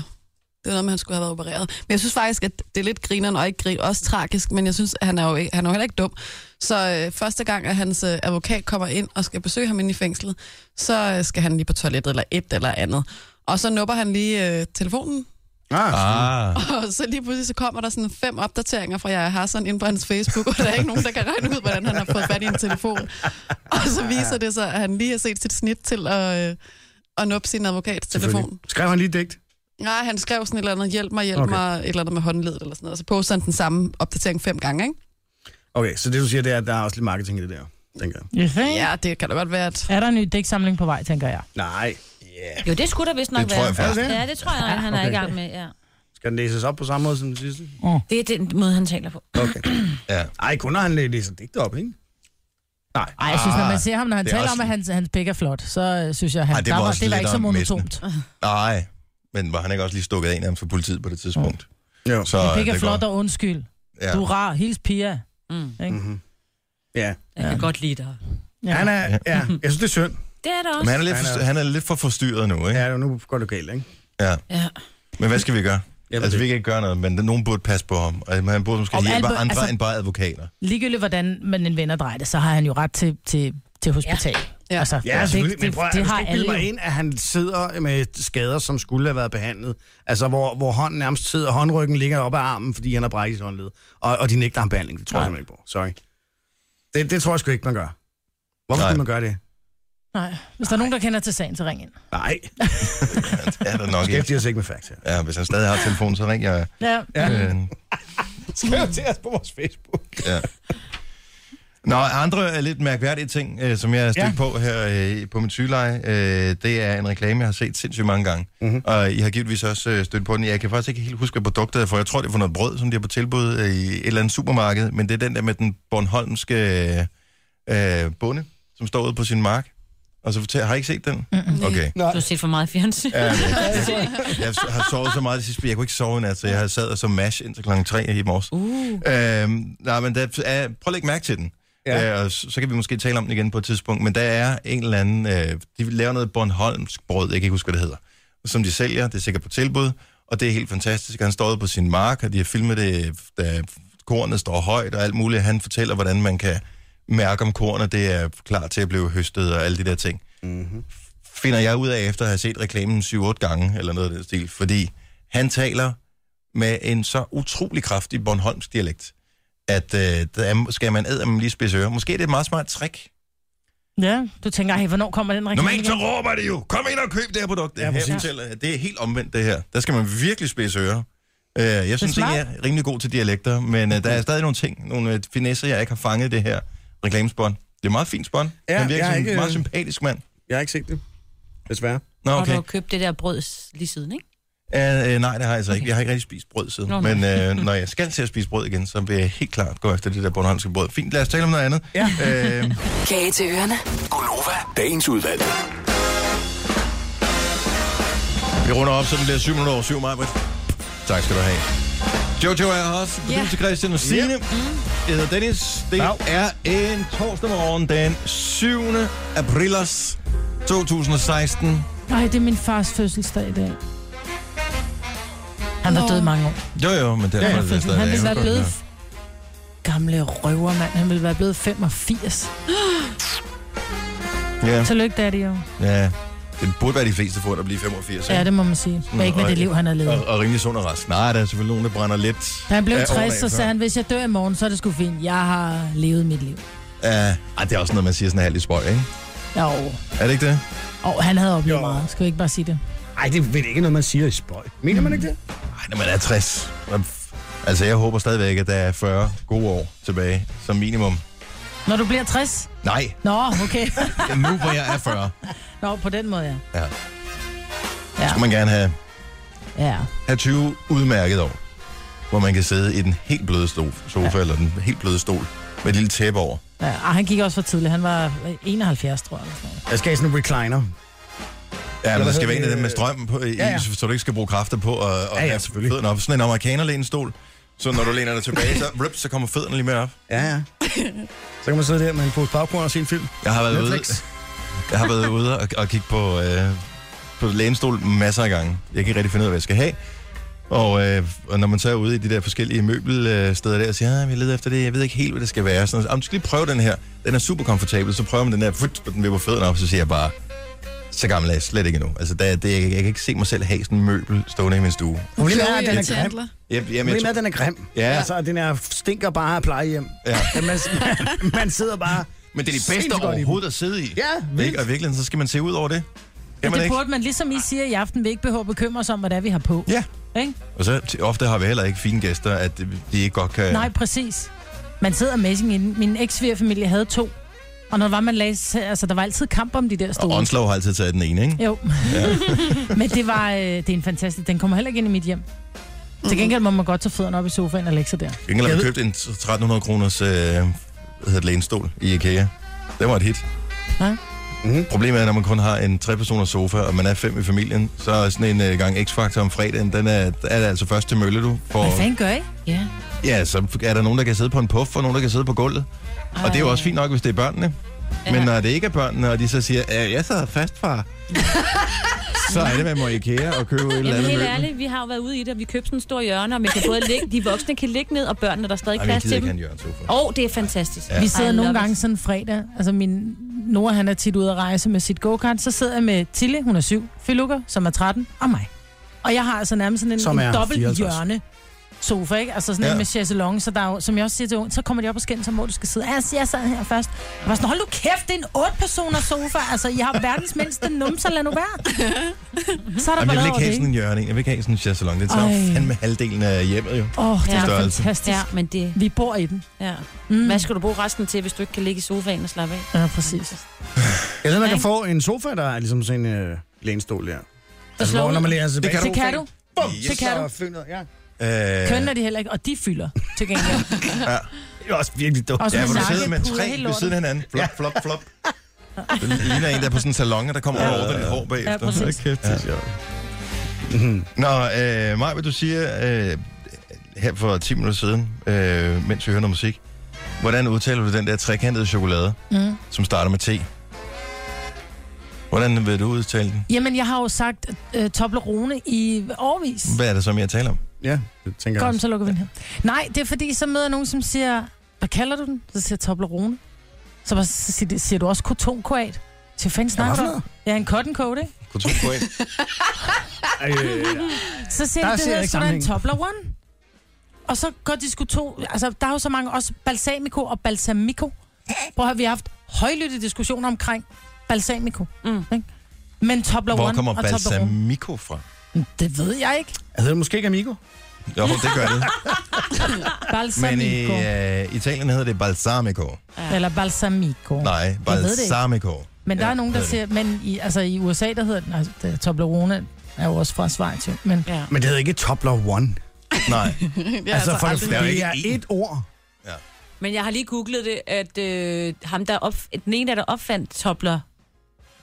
S7: det er noget med, at han skulle have været opereret. Men jeg synes faktisk, at det er lidt grineren og ikke grin, også tragisk, men jeg synes, at han er jo, ikke, han er jo heller ikke dum. Så øh, første gang, at hans øh, advokat kommer ind og skal besøge ham inde i fængslet, så øh, skal han lige på toilettet eller et eller andet. Og så nupper han lige øh, telefonen,
S2: Ah,
S1: Ah.
S7: og så lige pludselig så kommer der sådan fem opdateringer fra Jaja Hassan ind på hans Facebook, og der er ikke nogen, der kan regne ud, hvordan han har fået fat i en telefon. Og så viser det sig, at han lige har set sit snit til at, øh, at nuppe sin advokats telefon.
S2: selvfølgelig. Skrev han lige et digt?
S7: Nej, han skrev sådan et eller andet, hjælp mig, hjælp okay.
S2: Okay.
S7: mig, et eller andet med håndledet eller sådan noget. Og så poster han den samme opdatering fem gange, ikke?
S2: Okay, så det du siger, det er, at der er også lidt marketing i det der, tænker jeg.
S4: Ja.
S7: Ja, det kan da godt være, at...
S4: Er der en ny dæksamling på vej, tænker jeg.
S2: Nej. Yeah.
S8: Jo, det skulle der vist nok
S1: Det tror jeg
S8: være.
S1: faktisk.
S8: Ja, det tror jeg, han er i gang med, ja.
S2: Skal den læses op på samme måde som den sidste?
S8: Det er den måde, han taler på.
S2: Okay.
S1: Ja.
S2: Ej, kun når han læ- læser digte op, ikke? Nej.
S4: Ej, jeg synes, når man ser ham, når han
S1: det er
S4: taler
S1: også-
S4: om, at hans, hans pik er flot, så øh, synes jeg, han,
S1: Ej,
S4: Ej,
S1: det
S4: det,
S1: var
S4: var der var,
S1: også
S4: det var
S1: lidt
S4: ikke så
S1: om messen.
S4: monotont.
S1: Nej, men var han ikke også lige stukket af nærmest for politiet på det tidspunkt?
S4: Mm.
S2: Jo.
S1: Så
S4: Min pik
S1: det
S4: er
S1: går.
S4: flot og undskyld.
S1: Ja.
S4: Du er rar. Hils Pia.
S8: Mm.
S4: Ikke?
S2: Mhm. Ja.
S8: Jeg kan godt lide dig.
S4: Ja.
S2: Han er, ja, jeg synes, det er synd.
S8: Det er det
S1: Men
S8: også.
S1: han er, lidt
S2: Han er-
S1: for, han er lidt for forstyrret nu, ikke?
S2: Ja, nu går det galt, ikke?
S1: Ja.
S8: Ja.
S1: Men hvad skal vi gøre?
S2: Jeg ved
S1: altså, vi
S2: det.
S1: kan ikke gøre noget, men nogen burde passe på ham. Og han burde måske
S4: Om
S1: hjælpe
S4: Albert-
S1: andre
S4: altså-
S1: end bare advokater.
S4: Ligegyldigt, hvordan man en venner drejer det, så har han jo ret til, til, til hospital. Ja.
S7: Ja.
S4: Altså,
S2: Ja, selvfølgelig. Men prøv, det, det,
S4: har
S2: har ikke bilde
S4: alle
S2: mig
S4: jo.
S2: ind, at han sidder med skader, som skulle have været behandlet. Altså, hvor, hvor hånden nærmest sidder, håndryggen ligger op ad armen, fordi han har brækket sit håndled. Og, og de nægter ham behandling. Det tror jeg simpelthen ikke på. Sorry. Det, det tror jeg sgu ikke, man gør. Hvorfor
S1: Nej.
S2: skulle man gøre det?
S4: Nej. Hvis der er nogen, der kender til sagen, så ring ind.
S2: Nej,
S1: Det er der nok ikke.
S2: skæftiger sig ikke med fakta.
S1: Ja, hvis han stadig har telefonen, så ringer jeg.
S4: Ja.
S1: Ja. Øh,
S2: Skriv til os på vores Facebook.
S1: ja. Nå, andre er lidt mærkværdige ting, øh, som jeg er stødt
S2: Ja.
S1: ja. på her øh, på min sygeleje. Øh, det er en reklame, jeg har set sindssygt mange gange. Mm-hmm. Og I har givetvis også øh, stødt på den. Jeg kan faktisk ikke helt huske, hvad produktet er for. Jeg tror, det er for noget brød, som de har på tilbud øh, i et eller andet supermarked. Men det er den der med den bornholmske øh, øh, bonde, som står ude på sin mark. Og så fortæller, har I ikke set den? Mm-hmm. Okay.
S8: Du har set for meget fjernsyn.
S1: Ja, jeg, jeg har sovet så meget det sidste, jeg kunne ikke sove i nat, så jeg har sad og så mash indtil klokken 3 i morges.
S8: Uh.
S1: Øhm, nej, men der, er, prøv at lægge mærke til den.
S2: Ja.
S1: Ja. Øh, og så, så kan vi måske tale om den igen på et tidspunkt. Men der er en eller anden... Øh, de laver noget Bornholmsk brød, jeg kan ikke huske, hvad det hedder. Som de sælger, det er sikkert på tilbud. Og det er helt fantastisk. Han står ude på sin mark, og de har filmet det, da kornet står højt og alt muligt. Han fortæller, hvordan man kan mærke, om kornet det er klar til at blive høstet og alle de der ting. Mm-hmm. Finder jeg ud af, efter at have set reklamen 7-8 gange, eller noget af den stil. Fordi han taler med en så utrolig kraftig Bornholmsk dialekt at øh, der er, skal man æde, man lige spidse ører. Måske er det et meget smart trick.
S4: ja. Du tænker, hey, hvornår kommer den reklame
S1: Normalt så råber det jo, kom ind og køb det her produkt. Ja, her fortæller, jeg, det er helt omvendt det her. Der skal man virkelig spidse ører. Øh, jeg synes ikke,
S4: smart.
S1: jeg er rimelig god til dialekter, men øh, der er stadig nogle ting, nogle øh, finesser, jeg ikke har fanget i det her reklamespånd. Det er meget fint spånd.
S2: Ja,
S1: Ja, Han virker
S2: jeg er
S1: som en
S2: ikke, øh,
S1: meget sympatisk mand.
S2: Jeg har ikke set det. Desværre.
S1: Nå,
S8: Og du
S1: okay.
S8: har købt det der brød lige siden, ikke?
S1: Uh, øh, nej, det har jeg så ikke. Jeg har ikke rigtig spist brød siden.
S8: Nå,
S1: Nå,
S8: nej.
S1: men øh, når jeg skal til at spise brød igen, så vil jeg helt klart gå efter det der bornholmske brød. Fint, lad os tale om noget andet. Ja. Øh,
S11: Kage til ørerne.
S9: Gunova, dagens udvalg.
S1: Vi runder op, så den bliver 7 minutter over 7, Majbrit. Tak skal du have. Jojo er her også.
S7: Ja.
S1: Yeah. til Christian og Signe. Yep. Jeg hedder Dennis. Det
S2: Dag.
S1: er en torsdag morgen den 7. april 2016.
S4: Nej, det er min fars fødselsdag i dag. Han var død i mange år.
S1: Jo jo, men derfor
S4: Ja,
S1: er
S4: han
S1: det stadig.
S4: ville være
S1: Ja.
S4: blevet... Gamle røver, mand. Han ville være blevet 85.
S1: Ja.
S4: Tillykke, daddy. Jo.
S1: ja. Det burde være de fleste for at blive 85.
S4: Ja,
S1: ikke?
S4: det må man sige. Men ikke med det liv, han har levet.
S1: Og, og rimelig sund og rask. Nej, der er selvfølgelig nogen, der brænder lidt.
S4: Da han blev
S1: af
S4: 60,
S1: årene
S4: så
S1: af
S4: sagde han, hvis jeg dør i morgen, så er det sgu fint. Jeg har levet mit liv.
S1: før. Ja, Ej, det er også noget, man siger sådan halvt i spøj, ikke?
S4: Jo,
S1: Er det ikke det?
S4: og han havde oplevet
S2: Jo.
S4: meget. Skal vi ikke bare sige det?
S2: Nej, det er vel ikke noget, man siger i spøj. Mener man ikke det?
S1: Nej, når man er 60. Man f- Altså, jeg håber stadigvæk, at der er 40 gode år tilbage, som minimum.
S4: Når du bliver 60?
S1: Nej,
S4: Nå, okay.
S1: det er nu hvor jeg er 40.
S4: Nå, på den måde, ja.
S1: Ja.
S4: Ja.
S1: Så skal man gerne have,
S4: Ja.
S1: have 20 udmærket år, hvor man kan sidde i den helt bløde stol, sofa, ja. eller den helt bløde stol, med et lille tæppe over.
S4: ja. Og han gik også for tidligt. Han var 71, tror jeg. Eller sådan noget.
S2: Jeg skal have sådan en recliner.
S1: Ja, men
S2: hvad
S1: der skal være
S2: hedder
S1: en af
S2: det?
S1: dem med strøm på, i,
S2: Ja,
S1: ja,
S2: ja.
S1: ja. så du ikke skal bruge kræfter på at, at
S2: ja,
S1: have
S2: selvfølgelig.
S1: fødderne op. Sådan en amerikanerlænestol, så når du læner dig tilbage, så, rip, så kommer fødderne lige med op.
S2: Ja, ja. Så kan man sidde der med en pose popcorn og se en film.
S1: Jeg har været ude,
S2: Netflix.
S1: jeg har været ude og, og kigge på, øh, på lænestol masser af gange. Jeg kan ikke rigtig finde ud af, hvad jeg skal have. Og, øh, og når man så er ude i de der forskellige møbelsteder der, og siger, at jeg leder efter det, jeg ved ikke helt, hvad det skal være. Sådan, "Jamen, du skal lige prøve den her. Den er super komfortabel. Så prøver man den der, fut, og den vipper fødderne op, så siger jeg bare, så gammel er jeg slet ikke endnu. Altså, der, det, jeg, jeg kan ikke se mig selv have sådan en møbel stående i min stue.
S2: Problemet er, at den er grim.
S7: Chandler.
S1: Jeg, jeg, jeg,
S2: Problemet er,
S1: jeg,
S2: at den er grim.
S1: Ja.
S2: Altså, den er stinker bare af plejehjem.
S1: Ja.
S2: Men Man, man sidder bare...
S1: men det er de
S2: sindssygt
S1: bedste
S2: godt i dem.
S1: overhovedet at sidde i.
S2: Ja, vildt.
S1: ikke? Og i virkeligheden, så skal man se ud over det. Kan
S4: Men
S1: man
S4: det
S1: ikke?
S4: burde man, ligesom I siger i aften, vi ikke behøver at bekymre os om, hvad det er, vi har på.
S1: Ja.
S4: Ikke?
S1: Og så t- ofte har vi heller ikke fine gæster, at de ikke godt kan...
S4: Nej, præcis. Man sidder amazing inden. Min eks familie havde to. Og når det var, man lagde, sig- altså, der var altid kamp om de der
S1: Og
S4: stole.
S1: Onslow har altid taget den ene, ikke?
S4: Jo. Ja. Men det var, øh, det er en fantastisk... Den kommer heller ikke ind i mit hjem. Til gengæld må man godt tage fødderne op i sofaen og lægge sig der.
S1: Ingen har
S2: Jeg
S1: vi
S2: ved-
S1: købt en 1300 kroners øh, hvad hedder det, lænestol i IKEA. Det var et hit.
S4: Ja.
S1: Mm. Problemet er, når man kun har en trepersoners sofa, og man er fem i familien, så er sådan en øh, gang X-Factor om fredagen, den er, der er det altså først til mølle, du. For,
S4: Hvad fanden gør I?
S8: Ja.
S1: ja, så er der nogen, der kan sidde på en puff, og nogen, der kan sidde på gulvet. Og det er jo
S4: Ej.
S1: også fint nok, hvis det er børnene. Men
S8: Ja.
S1: når det ikke er børnene, og de så siger, at jeg sad fast, far, så er det, man må i IKEA og købe et eller
S8: Jamen
S1: andet
S8: helt
S1: møbel.
S8: ærligt, vi har jo været ude i det, og vi købte sådan en stor hjørne, og man kan både ligge, de voksne kan ligge ned, og børnene, der er stadig
S1: Ej, men jeg
S8: plads
S1: gider
S8: til
S1: ikke have
S8: dem.
S1: en Jørgen sofa.
S8: Åh, oh, det er fantastisk.
S4: Vi
S8: I
S4: sidder nogle
S8: love
S4: gange
S8: it.
S4: sådan en fredag. Altså min, Nora han er tit ude at rejse med sit go-kart, så sidder jeg med Tille, hun er 7, Filuka, som er 13, og mig. Og jeg har altså nærmest sådan en,
S2: Som er
S4: en dobbelt
S2: 54.
S4: hjørne sofa, ikke? Altså sådan
S1: Ja.
S4: ja. en med chaise longue, så der er jo, som jeg også siger til unge, så kommer de op og skændes om, hvor du skal sidde. Ja, jeg sad her først. Jeg var sådan, hold nu kæft, det er en 8-personers sofa. Altså, jeg har verdens mindste numser, lad nu være. Så er der
S1: Jamen, jeg
S4: ballade
S1: vil
S4: over
S1: ikke have
S4: det,
S1: sådan
S4: ikke?
S1: en hjørne. Jeg vil ikke have sådan en chaiselong. Den tager jo
S4: Ej.
S1: fandme halvdelen af hjemmet jo. Øh,
S4: Åh, oh, det
S8: Ja.
S4: er
S1: Størrelse.
S4: fantastisk.
S8: Ja, men det...
S4: Vi bor i den.
S8: Ja.
S4: Mm.
S8: Hvad skal du bruge resten til, hvis du ikke kan ligge i sofaen og slappe af?
S4: Ja, præcis.
S2: Jeg ved, man kan
S8: Ikke?
S2: få en sofa, der er ligesom sådan en øh, lænestol der. Altså,
S4: slår
S2: hvor,
S4: ud.
S2: når man læser
S1: Det kan
S4: Det kan du.
S1: Bum,
S4: det kan du.
S2: Ja.
S1: Øh,
S4: Køn er de heller ikke, og de fylder til gengæld.
S2: Det er også virkelig dumt.
S4: Og så
S1: Ja,
S4: med
S1: hvor du
S4: nakke,
S1: sidder med
S4: puder
S1: tre
S4: helt
S1: ved
S4: lortet.
S1: siden af hinanden. Flop, flop, flop. Det ligner en, der er på sådan en salon, og der kommer over det hår bagefter.
S4: Ja, præcis.
S1: Hold kæft, det er sjovt. Nå, øh, Maj, hvad du siger øh, her for 10 minutter siden, øh, mens vi hører noget musik. Hvordan udtaler du den der trekantede chokolade,
S4: Mm.
S1: som starter med T? Hvordan vil du udtale den?
S4: Jamen, jeg har jo sagt øh, Toblerone i årvis.
S1: Hvad er det så, jeg taler om?
S2: Ja, det tænker jeg
S4: Godt,
S2: også.
S4: så lukker vi den her. Nej, det er fordi, så møder jeg nogen, som siger, hvad kalder du den? Så siger jeg Toblerone. Så, bare, så siger, de, siger du også kotonkoat? Til fanden snakker du? om? Ja, en cotton coat, ikke?
S1: Kunne du gå ind?
S2: Ej, øh,
S4: Så siger
S2: Der ser jeg
S4: der de, det hedder
S2: ikke
S4: sgu da en
S2: sammenhængen.
S4: Toblerone. Og så går de sgu to... Altså, der er jo så mange, også balsamico og balsamico. Prøv at høre, vi har haft højlytte diskussioner omkring balsamico.
S8: Mm.
S4: Ikke? Men Toblerone
S1: Hvor kommer
S4: og Toblerone.
S1: balsamico fra?
S4: Det ved jeg ikke.
S2: hedder det måske ikke Amigo?
S1: Jo, det gør det. Men i
S4: Balsamico.
S1: øh, Italien hedder det balsamico.
S4: Eller balsamico.
S1: Nej,
S4: ved det ikke.
S1: balsamico.
S4: Men der
S1: Ja,
S4: er nogen, der
S1: ved det.
S4: siger, men i, altså i USA, der hedder den, altså, det er Toblerone er jo også fra Schweiz, jo. Men
S8: Ja.
S2: Men det hedder ikke Tobler One.
S1: Nej.
S7: Ja,
S2: altså, for det,
S1: Der er jo
S2: det
S1: ikke
S2: er
S1: én.
S2: et ord.
S8: Men jeg har lige googlet det, at øh, ham der opf- den ene, der opfandt Tobler,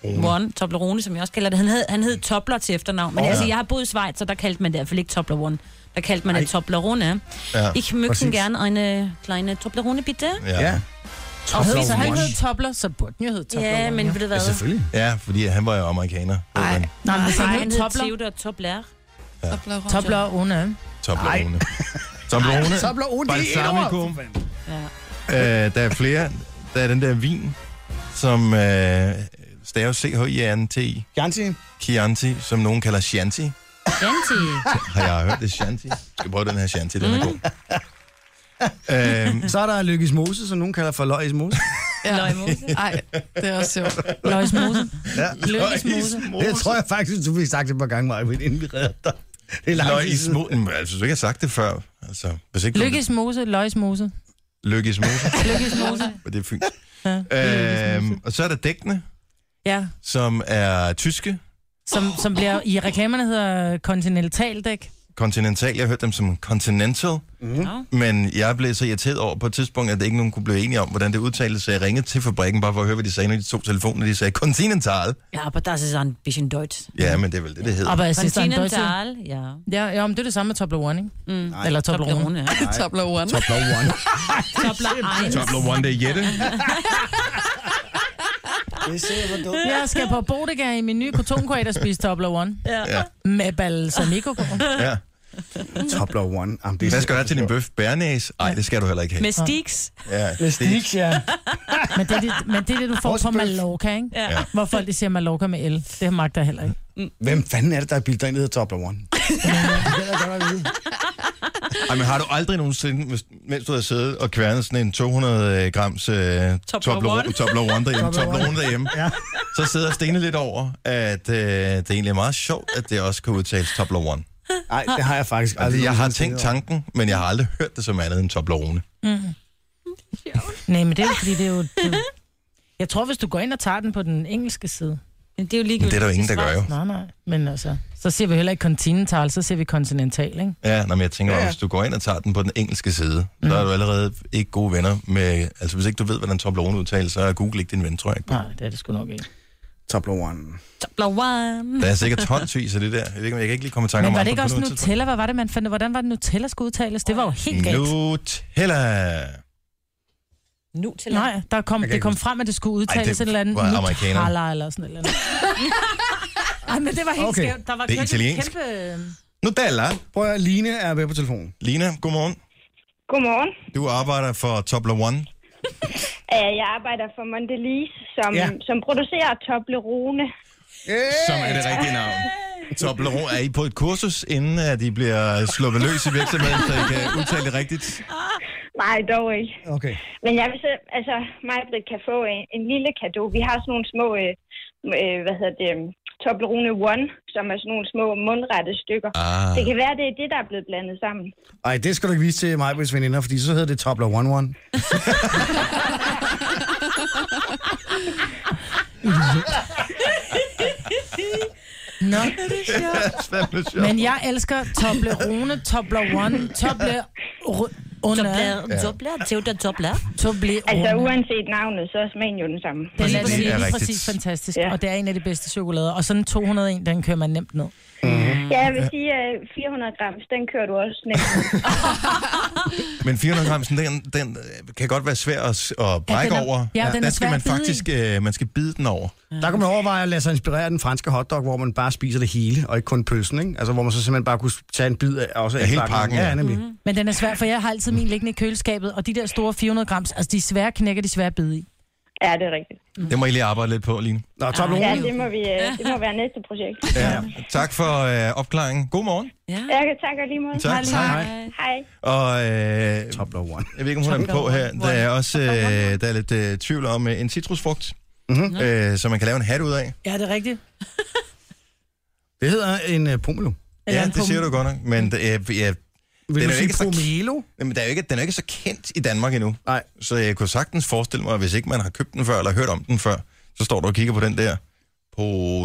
S8: One, Toblerone, som jeg også kalder det, han hed, han hed Tobler til efternavn. Men
S1: Åh,
S8: oh, altså,
S1: ja.
S8: jeg har boet i Schweiz, så der kaldte man det i hvert fald ikke Toblerone. Der kaldte man det Toblerone.
S1: Ja,
S8: Ich möchte
S2: præcis.
S8: gerne eine kleine Toblerone, bitte.
S1: Ja.
S4: og hed, så
S2: Toblerone.
S4: han hed Tobler, så burde den jo hedde Toblerone.
S8: Ja, men
S4: jo.
S8: ved du
S2: Ja,
S8: hvad?
S2: selvfølgelig.
S1: ja, fordi han var jo amerikaner.
S7: Ej.
S1: Ej.
S4: Nej, men hvis
S8: Nej,
S4: han
S8: han
S4: hed
S8: hed
S4: Tobler,
S8: Theodor Tobler.
S4: Toblerone.
S1: Toblerone. Toblerone.
S2: Tobler One, det er et ord.
S1: Balsamico.
S8: Ja.
S1: Øh, der er flere. Der er den der vin, som øh, staves c h i n t i
S2: Janti.
S1: Chianti, som nogen kalder Chianti.
S8: Chianti.
S1: Har jeg hørt det er Chianti? Jeg skal prøve den her Chianti, den er god. Øhm,
S2: Så er der Lykkes Mose, som nogen kalder for Løjes Mose.
S7: Ja. Ej, det er også sjovt.
S4: Løjs Mose. Lykkes Mose.
S1: Øhm,
S2: Det tror jeg faktisk, du fik sagt det et par gange, Maja, inden vi redder dig. Det er lang
S1: Nå,
S2: tid
S1: i
S2: siden.
S1: små... Jamen, Jeg synes ikke, jeg har sagt det før. Altså, hvis ikke du-
S4: Lykkes Mose, Løjs Mose.
S1: Lykkes Mose.
S4: Lykkes Mose.
S1: Og det er fint.
S4: Ja,
S1: øhm, og så er der dækkene,
S4: Ja,
S1: som er tyske,
S4: som, som bliver i reklamerne hedder kontinentaldæk.
S1: Continental. Jeg hørte dem som Continental.
S8: Nå.
S1: Men jeg blev så irriteret over på et tidspunkt, at ikke nogen kunne blive enige om, hvordan det udtales. Så jeg ringede til fabrikken bare for at høre, hvad de sagde, når de tog telefonen, og de sagde Continental.
S8: Ja, aber das ist ein bisschen deutsch.
S1: Ja, men det er vel det, det hedder.
S4: Aber es ist ein deutscher.
S8: Continental, ja.
S4: Ja, ja, men det er det samme med Toblerone, ikke? Mm. Eller Toblerone.
S8: Toblerone, ja.
S7: Tobler One.
S2: Tobler One.
S8: Tobler 1.
S1: Tobler One Day Jette.
S2: Det ser hvor dumt.
S4: Jeg skal på Bodega i min nye kotonkoat og spise Toblerone.
S1: Ja,
S4: Med balsamico på.
S1: ja.
S2: Tobler One. Jamen, det
S1: Hvad skal du have til din bøf? Bærnæs? Nej, det skal du heller ikke have.
S8: Med Stix.
S1: Ja,
S2: Stik, ja.
S4: Men det, er det, men det er det, du får
S2: Vores
S4: på
S2: bøf.
S4: Mallorca, ikke?
S8: Ja.
S1: Ja.
S4: Ja. Hvor folk de siger Mallorca med L. Det magter jeg heller ikke.
S2: Hvem fanden er det, der har bildet dig ind, der hedder Tobler One? Det er godt at vide.
S1: Ej, men har du aldrig nogensinde, hvis- mens du har siddet og kværnet sådan en 200 grams øh, Toblerone
S8: Toblerone.
S1: Toblerone derhjemme, Toblerone derhjemme,
S2: Ja.
S1: så sidder jeg Stine lidt over, at øh, det er egentlig er meget sjovt, at det også kan udtales Toblerone.
S2: Nej, det har jeg faktisk
S1: Altså,
S2: aldrig.
S1: jeg har
S2: nogensinde
S1: tænkt tanken, men jeg har aldrig hørt det som andet end Toblerone.
S4: Nej, men det er jo, fordi, det er jo... Det... Jeg tror, hvis du går ind og tager den på den engelske side...
S8: Men det er jo
S1: Men
S8: ligegyldigt.
S1: det er der jo ingen, der gør jo.
S4: Nej, nej. Men altså, så siger vi heller ikke continental, så siger vi continental, ikke?
S1: Ja, nå, men jeg tænker, ja.
S2: Ja, ja.
S1: hvis du går ind og tager den på den engelske side,
S4: Mhm.
S1: mm. så er du allerede ikke gode venner med... Altså, hvis ikke du ved, hvordan Toblerone udtales, så er Google ikke din ven, tror jeg. ikke.
S4: Nej, det er det sgu nok ikke.
S2: Tobler One.
S8: Tobler 1.
S1: Der er sikkert tonsvis af det der. Jeg, ved ikke, om- jeg kan ikke lige komme i tanke om
S4: Men var
S1: andre
S4: det ikke
S1: altså på
S4: også
S1: nuværende tidspunkt.
S4: Nutella? Hvad var det, man fandt? Hvordan var det, Nutella skulle udtales? Det var jo helt galt.
S1: Nutella.
S8: Nu til Nej.
S4: Nej, der kom,
S2: Jeg kan
S4: det
S2: ikke
S4: kom
S2: huske.
S4: frem, at det skulle
S1: Ej, det
S4: udtales et eller andet
S1: var amerikaner.
S4: Nutella eller sådan et eller andet. Ej, men det var helt
S2: Okay.
S4: okay. skævt. Der var
S1: Det er
S4: kæmpe,
S1: italiensk.
S4: kæmpe...
S1: Nutella.
S2: Prøv at Line er med på telefonen.
S1: Lina, godmorgen.
S10: Godmorgen.
S1: Du arbejder for Toblerone.
S10: Øh, Jeg arbejder for Mondelez, som,
S2: Ja.
S10: ja. som producerer Toblerone.
S1: Som er det rigtige navn. Toblerone, er I på et kursus, inden at de bliver sluppet løs i virksomheden, så I kan udtale det rigtigt?
S10: Nej, dog ikke.
S2: Okay.
S10: Men jeg vil så, altså, Majbrit kan få en, en lille gave. Vi har sådan nogle små, øh, øh, hvad hedder det, øhm, Toblerone One, som er sådan nogle små mundrette stykker.
S1: Ah.
S10: Det kan være, det er det, der er blevet blandet sammen.
S2: Ej, det skal du ikke vise til mig, hvis veninder, fordi så hedder det Tobler 1-1.
S4: Nå.
S1: Fandme sjovt.
S4: Men jeg elsker Toblerone, Toblerone, Toblerone,
S8: Dobler, dobler, Theodor dobler.
S10: Altså,
S4: Toblerone.
S10: uanset navnet, så er smagen jo den samme.
S4: Den er
S1: Det er
S4: lige, lige
S1: rigtigt.
S4: præcis fantastisk,
S10: Ja.
S4: og det er en af de bedste chokolader. Og sådan en 201, den kører man nemt ned.
S10: Ja, jeg vil sige, øh, at 400 grams, den kører du også nemt.
S1: Men 400 grams, den, den øh, kan godt være svær at, s- at brække
S4: den er-
S1: over.
S4: ja, den er
S1: der skal
S4: svær
S1: man
S4: at bide i.
S1: faktisk øh, man skal bide den over.
S2: Der kan man overveje at lade sig inspirere af den franske hotdog, hvor man bare spiser det hele, og ikke kun pølsen, ikke? Altså, hvor man så simpelthen bare kunne tage en bid af, også af
S1: hele
S2: bakken.
S1: pakken, ja.
S2: Ja, nemlig.
S8: Mhm.
S2: Mm-hmm.
S4: Men den er svær, for jeg har altid min liggende i køleskabet, og de der store 400 grams, altså de er svære at knække, de er svære at bide i.
S10: Ja, det er rigtigt.
S4: Mm.
S1: Det må I lige arbejde lidt på, Line.
S2: Nå, Tobler
S10: Ja,
S2: 1.
S10: det må, vi, øh, det må være næste projekt.
S1: Ja. Tak for øh, opklaringen. God morgen.
S8: Ja.
S10: Jeg kan takke lige måde.
S1: Tak. tak.
S10: Hej.
S1: Og øh,
S2: Tobler 1.
S1: Jeg ved ikke, om hun er på her. Der er også øh, der er lidt øh, tvivl om øh, en citrusfrugt, mm-hmm. øh, som man kan lave en hat ud af.
S4: Ja, det er rigtigt.
S2: Det hedder en uh, pomelo.
S1: ja, det siger du godt nok.
S4: Mm.
S1: Men øh, ja,
S2: Vil
S1: Den
S2: du
S1: er jo
S2: sige
S1: ikke så-
S2: pomelo?
S1: men der er jo ikke, den er jo ikke så kendt i Danmark endnu.
S2: Nej.
S1: Så jeg kunne sagtens forestille mig, at hvis ikke man har købt den før, eller hørt om den før, så står du og kigger på den der. På,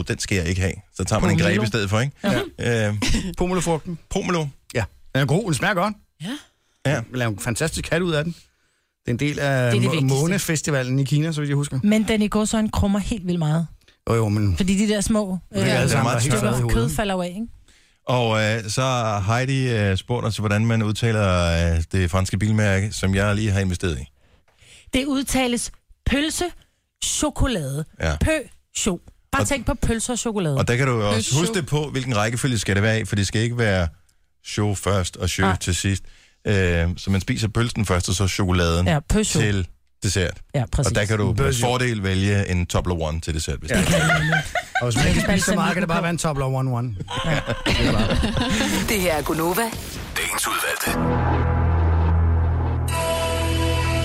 S1: den skal jeg ikke have. Så tager man en
S4: Pomelo.
S1: greb i stedet for, ikke? Ja. Øh,
S2: Pomelofrugten.
S1: pomelo.
S2: Ja. Den er god, den smager godt.
S8: Ja.
S1: Ja.
S2: Vi laver en fantastisk hat ud af den. Det er en del af
S8: Det er det
S2: må-
S8: vigtigste.
S2: månefestivalen i Kina, så vidt jeg husker.
S4: Men den i går så en krummer helt vildt meget.
S2: Jo, jo, men...
S4: Fordi de der små øh,
S2: er
S1: alle
S4: ja,
S1: sammen altså meget
S2: flade i
S4: stykker kød
S2: hovedet.
S4: falder jo af, ikke?
S1: Og øh, så har Heidi øh, spurgt os, hvordan man udtaler øh, det franske bilmærke, som jeg lige har investeret i.
S4: Det udtales pølse, chokolade,
S1: Ja.
S4: pø, cho. Bare
S1: Og-
S4: tænk på pølser og chokolade.
S1: Og der kan du jo også
S7: show.
S1: huske det på, hvilken rækkefølge skal det være i, for det skal ikke være show først og show
S4: Nej.
S1: til sidst. Øh, så man spiser pølsen først, og så chokoladen
S4: Ja, pø, cho.
S1: til dessert.
S4: Ja, præcis.
S1: Og der kan du med
S2: Bøsse.
S1: fordel vælge en Tobler One til dessert, hvis ja. det er.
S2: Og hvis man ikke
S4: Balsamico
S2: spiser så meget, kan det bare være en Tobler 1-1.
S11: Det her er Gunova.
S9: Dagens udvalgte.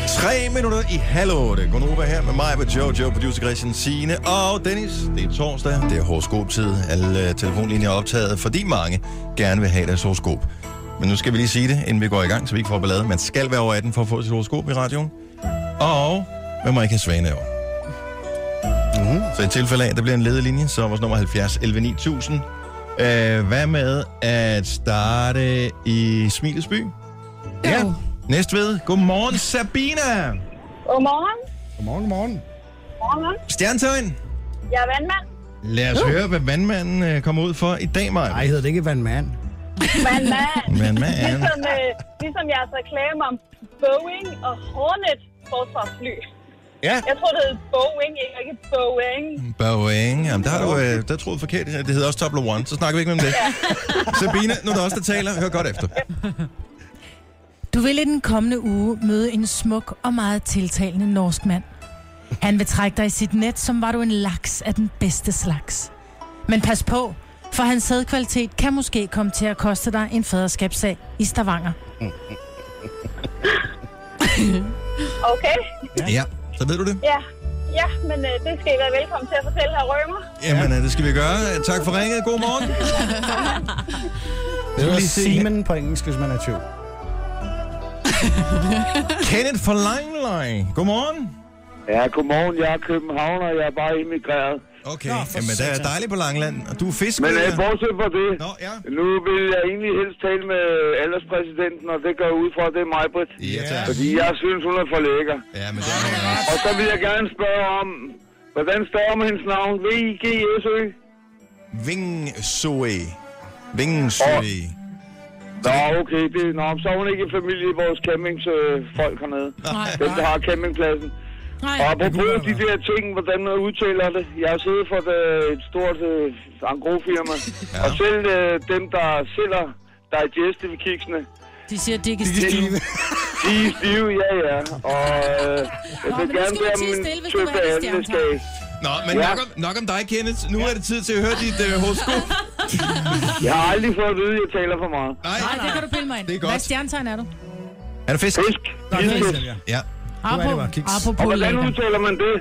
S1: Tre minutter i halv otte. Gunova her med mig, med Jojo, producer Christian Sine og Dennis. Det er torsdag, det er horoskoptid. Alle øh, telefonlinjer er optaget, fordi mange gerne vil have deres horoskop. Men nu skal vi lige sige det, inden vi går i gang, så vi ikke får ballade. Man skal være over 18 for at få sit horoskop i radioen. Og man må ikke have svane over. Så i tilfælde af, at der bliver en ledig linje, så er vores nummer 70 11 9000. Øh, hvad med at starte i Smilets by?
S7: Jo.
S1: Næstved. Godmorgen, Sabina.
S10: Godmorgen.
S2: Godmorgen, godmorgen.
S10: Godmorgen.
S1: Stjernetegn.
S10: Jeg er vandmand.
S1: Lad os høre, hvad vandmanden øh, kommer ud for i dag, Maja.
S2: Nej, hedder det ikke Van Man?
S10: Vandmand.
S1: Vandmand.
S10: Ligesom, øh, ligesom jeres reklame om Boeing og Hornet forsvarsfly.
S2: Ja.
S10: Jeg tror, det hedder Boeing, ikke ikke Boeing.
S1: Boeing. Jamen, der har du øh, der troede forkert. Det hedder også Tobler One, så snakker vi ikke om det. Sabina, nu er der også der taler. Hør godt efter.
S4: Du vil i den kommende uge møde en smuk og meget tiltalende norsk mand. Han vil trække dig i sit net, som var du en laks af den bedste slags. Men pas på, for hans sædkvalitet kan måske komme til at koste dig en faderskabssag i Stavanger.
S10: Okay,
S1: Ja, så ved du det.
S10: ja. Ja, men øh, det skal I være velkommen til at fortælle her Rømer.
S1: Jamen, øh, det skal vi gøre. Tak for ringet. God morgen.
S2: Det hedder
S1: lige se-
S2: Semen på engelsk, hvis man er tvivl.
S1: Kenneth fra Langeløj. Godmorgen.
S12: Ja, godmorgen. Jeg er københavner. Jeg er bare emigreret.
S1: Okay,
S2: Nå,
S1: Nå,
S2: for
S1: jamen der er
S2: satan.
S1: dejligt på Langeland, og du er fisker.
S12: Men øh, bortset fra det,
S1: Nå, ja.
S12: nu vil jeg egentlig helst tale med alderspræsidenten, og det går jeg ud fra, det er mig, Britt.
S1: Ja, tak.
S12: Fordi jeg synes, hun er for lækker.
S1: Ja, men det er
S12: Og så vil jeg gerne spørge om, hvordan staver man hendes navn? V-I-G-S-Ø?
S1: Vingsøe. Vingsøe.
S12: Nå, okay. Det, nå, så er hun ikke i familie i vores campingsfolk øh, hernede. Dem, der har campingpladsen.
S4: Nej.
S12: Og apropos de der ting, hvordan man udtaler det. Jeg har siddet for et, øh, et stort øh, angrofirma.
S1: Ja.
S12: ja. Og selv øh, dem, der sælger digestive kiksene,
S4: De siger, det ikke
S12: de, De er stive, ja, ja. Og øh, jeg
S8: Nå, men
S12: vil
S8: nu
S12: gerne
S8: skal vi
S12: bede om
S8: tie
S12: en
S8: stille, hvis du
S12: tøffe
S8: er i
S12: handleskab.
S1: Nå, men nok, om, nok om dig, Kenneth. Nu er det tid til at høre dit øh, horoskop.
S12: Jeg har aldrig fået at vide, at jeg taler for meget.
S4: Nej, det kan du pille mig ind.
S1: Det er godt.
S4: Hvad stjernetegn er du?
S1: Er du fisk?
S12: Fisk. Fisk.
S1: Ja.
S12: Og
S4: Apropos
S12: hvordan
S4: lækker.
S12: udtaler man det?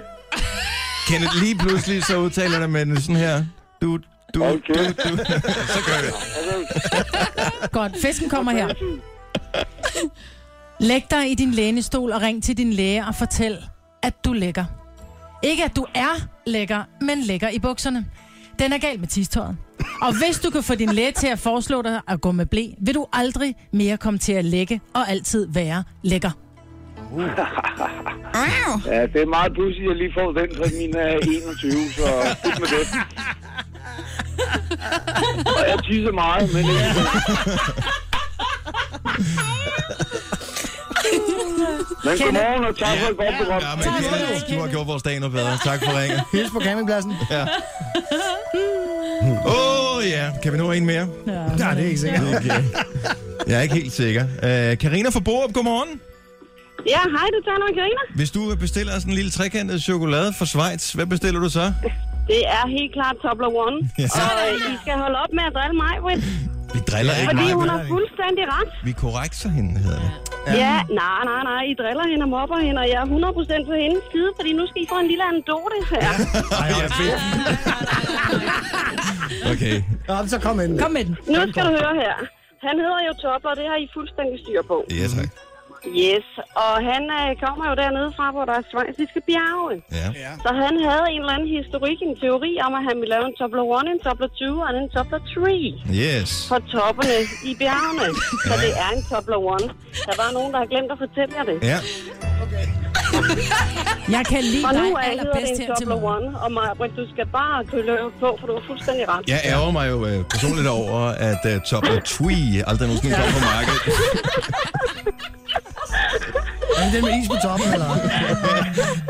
S1: Kenneth, lige pludselig så udtaler det med sådan her. Du, du,
S12: Okay.
S1: du, du. så gør vi det.
S4: Godt, fisken kommer her. Læg dig i din lænestol og ring til din læge og fortæl, at du lægger. Ikke at du er lækker, men lækker i bukserne. Den er galt med tistøjet. Og hvis du kan få din læge til at foreslå dig at gå med blæ, vil du aldrig mere komme til at lægge og altid være lækker.
S12: Ja, det er meget pudsigt, at jeg lige får den fra min øh, 21, så stik med det. Og jeg tisser meget, men ikke. Men godmorgen, og tak for et godt program.
S1: Ja, men Kenneth, du har gjort vores dag noget bedre. Tak for ringen.
S2: Hils på campingpladsen.
S1: Ja. Åh, oh, ja. Kan vi nå en mere?
S2: Nej, det er ikke sikkert.
S1: Okay. Jeg er ikke helt sikker. Øh, Karina fra Borup, godmorgen.
S10: Ja, hej, du taler med Karina.
S1: Hvis du bestiller sådan en lille trekantet chokolade fra Schweiz, hvad bestiller du så?
S10: Det er helt klart Tobler One.
S1: Ja.
S10: Og øh, I skal holde op med at drille mig, Britt,
S1: Vi driller ikke
S10: fordi
S1: meget.
S10: hun
S1: vel?
S10: har fuldstændig ret.
S1: Vi korrekser hende, hedder det.
S10: Ja, nej, nej, nej. I driller hende og mobber hende, og jeg er 100% på hendes side, fordi nu skal I få en lille anekdote her.
S1: Ej, jeg er fedt. Okay.
S6: Nå, så kom ind.
S4: Kom med den.
S10: Nu skal du høre her. Han hedder jo Tobler, og det har I fuldstændig styr på.
S1: Ja, tak.
S10: Yes, og han øh, kommer jo dernede fra, hvor der er svejsiske bjerge.
S1: Ja.
S10: Så han havde en eller anden historik, en teori om, at han ville lave en Tobler 1, en Tobler 2 og en Tobler 3
S1: Yes.
S10: på toppene i bjergene. Så det er en Tobler 1. Der var nogen, der har glemt at fortælle jer det.
S1: Ja.
S4: Jeg kan lide
S10: Og nu
S4: dig
S10: er hedder det
S4: allerbedst
S10: en
S4: her til
S10: Tobler
S4: morgen.
S10: 1, og Maja, du skal bare køle på, for du har fuldstændig ret.
S1: Jeg ærger mig jo øh, personligt over, at øh, Top og Twee aldrig nogensinde kom på markedet.
S2: Er det den med is på toppen, eller?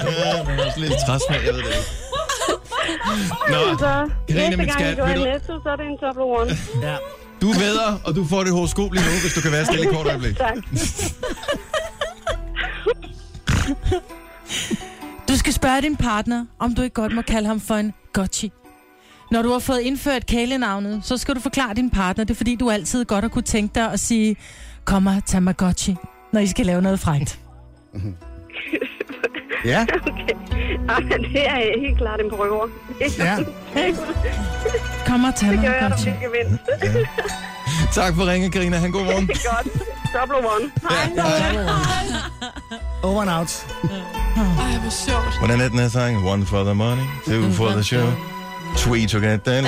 S1: Ja, det er også lidt træs med, jeg ved det ikke. Nå,
S10: Så
S1: Karina,
S10: næste
S1: min
S10: gang
S1: skat,
S10: I går
S1: ved
S10: i
S1: du,
S10: Netto, så er det en Tobler 1.
S1: du er bedre, og du får det horoskop lige nu, hvis du kan være stille i kort øjeblik.
S10: Tak.
S4: Du skal spørge din partner, om du ikke godt må kalde ham for en gotchi. Når du har fået indført kælenavnet, så skal du forklare din partner det, er fordi du altid godt har kunne tænke dig at sige, kom og tag mig gotchi, når I skal lave noget frækt.
S2: Ja.
S10: Okay. Ej, det er helt klart en prøver.
S2: Ja.
S4: Kom og tag
S10: Det
S4: mig
S10: gør jeg, der
S4: gotchi.
S10: fik gevinst.
S1: Tak for ringen, Karina. Han god morgen.
S10: Det er godt. Tobler 1. Hej.
S2: Over and out.
S7: Ej, hvor sjovt.
S1: Hvordan er den her sang? One for the money, two for the show, three to get done.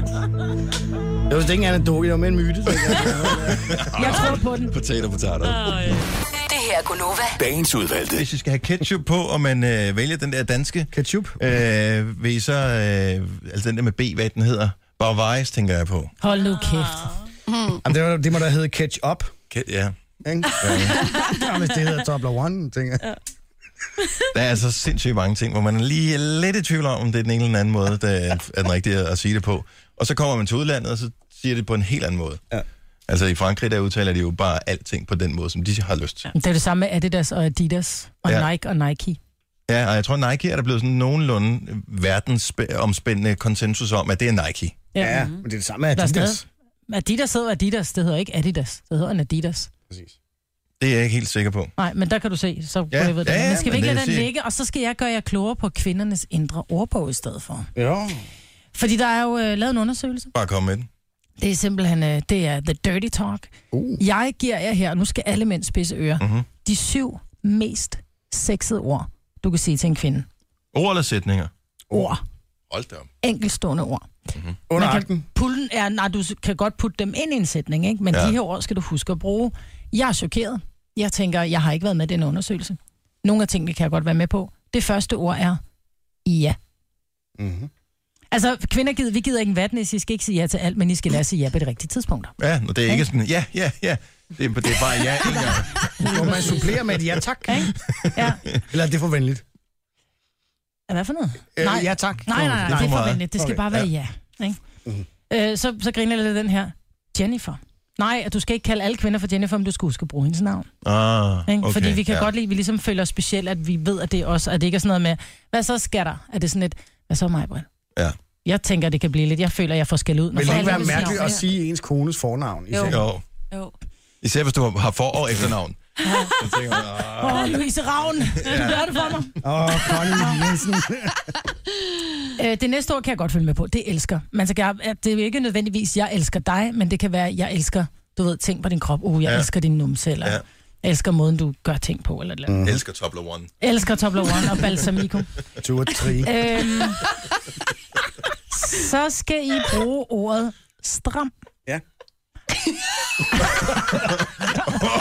S2: Det var vist ikke en anekdote, det var med en myte. tænker jeg.
S4: Jeg tror på den.
S1: potato, potato.
S11: Det her er Gunova.
S9: Dagens udvalgte.
S1: Hvis I skal have ketchup på, og man øh, vælger den der danske,
S2: Ketchup.
S1: øh, vil I så, øh, altså den der med B, hvad den hedder, Bavaris, tænker jeg på.
S4: Hold nu kæft.
S2: Jamen, det, var, det må da hedde ketchup.
S1: Ket, ja.
S2: Ikke? Ja, hvis det hedder Tobler One, tænker jeg.
S1: Der er altså sindssygt mange ting, hvor man lige er lidt i tvivl om, om det er den ene eller den anden måde, der er den rigtige at sige det på. Og så kommer man til udlandet, og så siger det på en helt anden måde. Ja. Altså i Frankrig, der udtaler de jo bare alting på den måde, som de har lyst til.
S4: Det er det samme med Adidas og Adidas og
S1: Ja.
S4: ja. Nike og Nike.
S1: Ja, og jeg tror, Nike er der blevet sådan nogenlunde verdensomspændende konsensus om, at det er Nike.
S4: Ja.
S2: Ja, men det er det samme med
S4: Der er
S2: Adidas.
S4: stadig- Adidas hedder Adidas, det hedder ikke Adidas. Det hedder en Adidas.
S1: Det er jeg ikke helt sikker på.
S4: Nej, men der kan du se, så
S1: Ja,
S4: ja, jeg ved det.
S1: ja, ja,
S4: men skal vi
S1: men
S4: ikke
S1: det
S4: lade
S1: vil
S4: den
S1: sige-
S4: ligge, og så skal jeg gøre jer klogere på kvindernes indre ordbog i stedet for.
S2: Jo.
S4: Fordi der er jo øh, lavet en undersøgelse.
S1: Bare kom med den.
S4: Det er simpelthen, øh, det er the dirty talk.
S2: Uh.
S4: Jeg giver jer her, nu skal alle mænd spidse ører, mm-hmm. de syv mest sexede ord, du kan sige til en kvinde.
S1: Ord eller sætninger?
S4: Ord. Mhm.
S1: Hold da op.
S4: Enkelstående ord.
S2: Under
S4: Man
S2: akten.
S4: kan pullen, ja, nej, du kan godt putte dem ind i en sætning, ikke? men
S1: Ja.
S4: ja. de her ord skal du huske at bruge. Jeg er chokeret. Jeg tænker, jeg har ikke været med i den undersøgelse. Nogle af tingene kan jeg godt være med på. Det første ord er ja.
S2: Mhm.
S4: Altså, kvinder gider, vi gider ikke en vatnæs, I skal ikke sige ja til alt, men I skal lade os sige ja på de rigtige tidspunkter.
S1: Ja, nå, det er ikke sådan, ja, ja, ja. Det er, det er bare ja, en gang.
S2: Hvor man supplerer med et ja tak.
S4: Ikke? Ja.
S2: Eller er det for venligt?
S4: Ja, Hvad for noget?
S2: Øh,
S4: Nej.
S2: Ja tak.
S4: Nej, nej, nej,
S1: for
S4: det er
S1: meget.
S4: forventeligt. Det skal
S2: Okay,
S4: bare være ja. Ikke? Øh, så, så griner jeg lidt af den her. Jennifer. Nej, og du skal ikke kalde alle kvinder for Jennifer, men du skal huske at bruge hendes navn.
S1: Ah,
S4: Ikke?
S1: okay.
S4: Okay, Fordi vi kan
S1: ja.
S4: ja. godt lide, at vi ligesom føler os specielt, at vi ved, at det er os, og at det ikke er sådan noget med, hvad så sker der? Er det sådan et, hvad så mig, Britt?
S1: Ja.
S4: Jeg tænker, det kan blive lidt, jeg føler, at jeg får skæld ud.
S2: Vil det
S4: folk
S2: ikke være
S4: ved sit
S2: mærkeligt
S4: navn?
S2: at sige ens kones fornavn? i
S4: Jo.
S2: sengen?
S1: Jo.
S8: Jo.
S1: Især hvis du har for- og efternavn. Så tænker man, ah.
S4: Åh, oh, Louise Ravn, du gør det for mig.
S2: Åh, oh, Connie Jensen.
S4: Øh, det næste ord kan jeg godt følge med på. Det elsker. Man skal, gøre- at det er ikke nødvendigvis, jeg elsker dig, men det kan være, jeg elsker, du ved, ting på din krop. Uh, jeg
S1: Ja.
S4: ja. elsker din numse, eller
S1: Ja.
S4: ja. jeg elsker måden, du gør ting på, eller et eller andet.
S1: Elsker Tobler One.
S4: Mm. Elsker Toblerone og balsamico.
S2: Two or three.
S4: øhm, så skal I bruge ordet stram.
S2: Ja.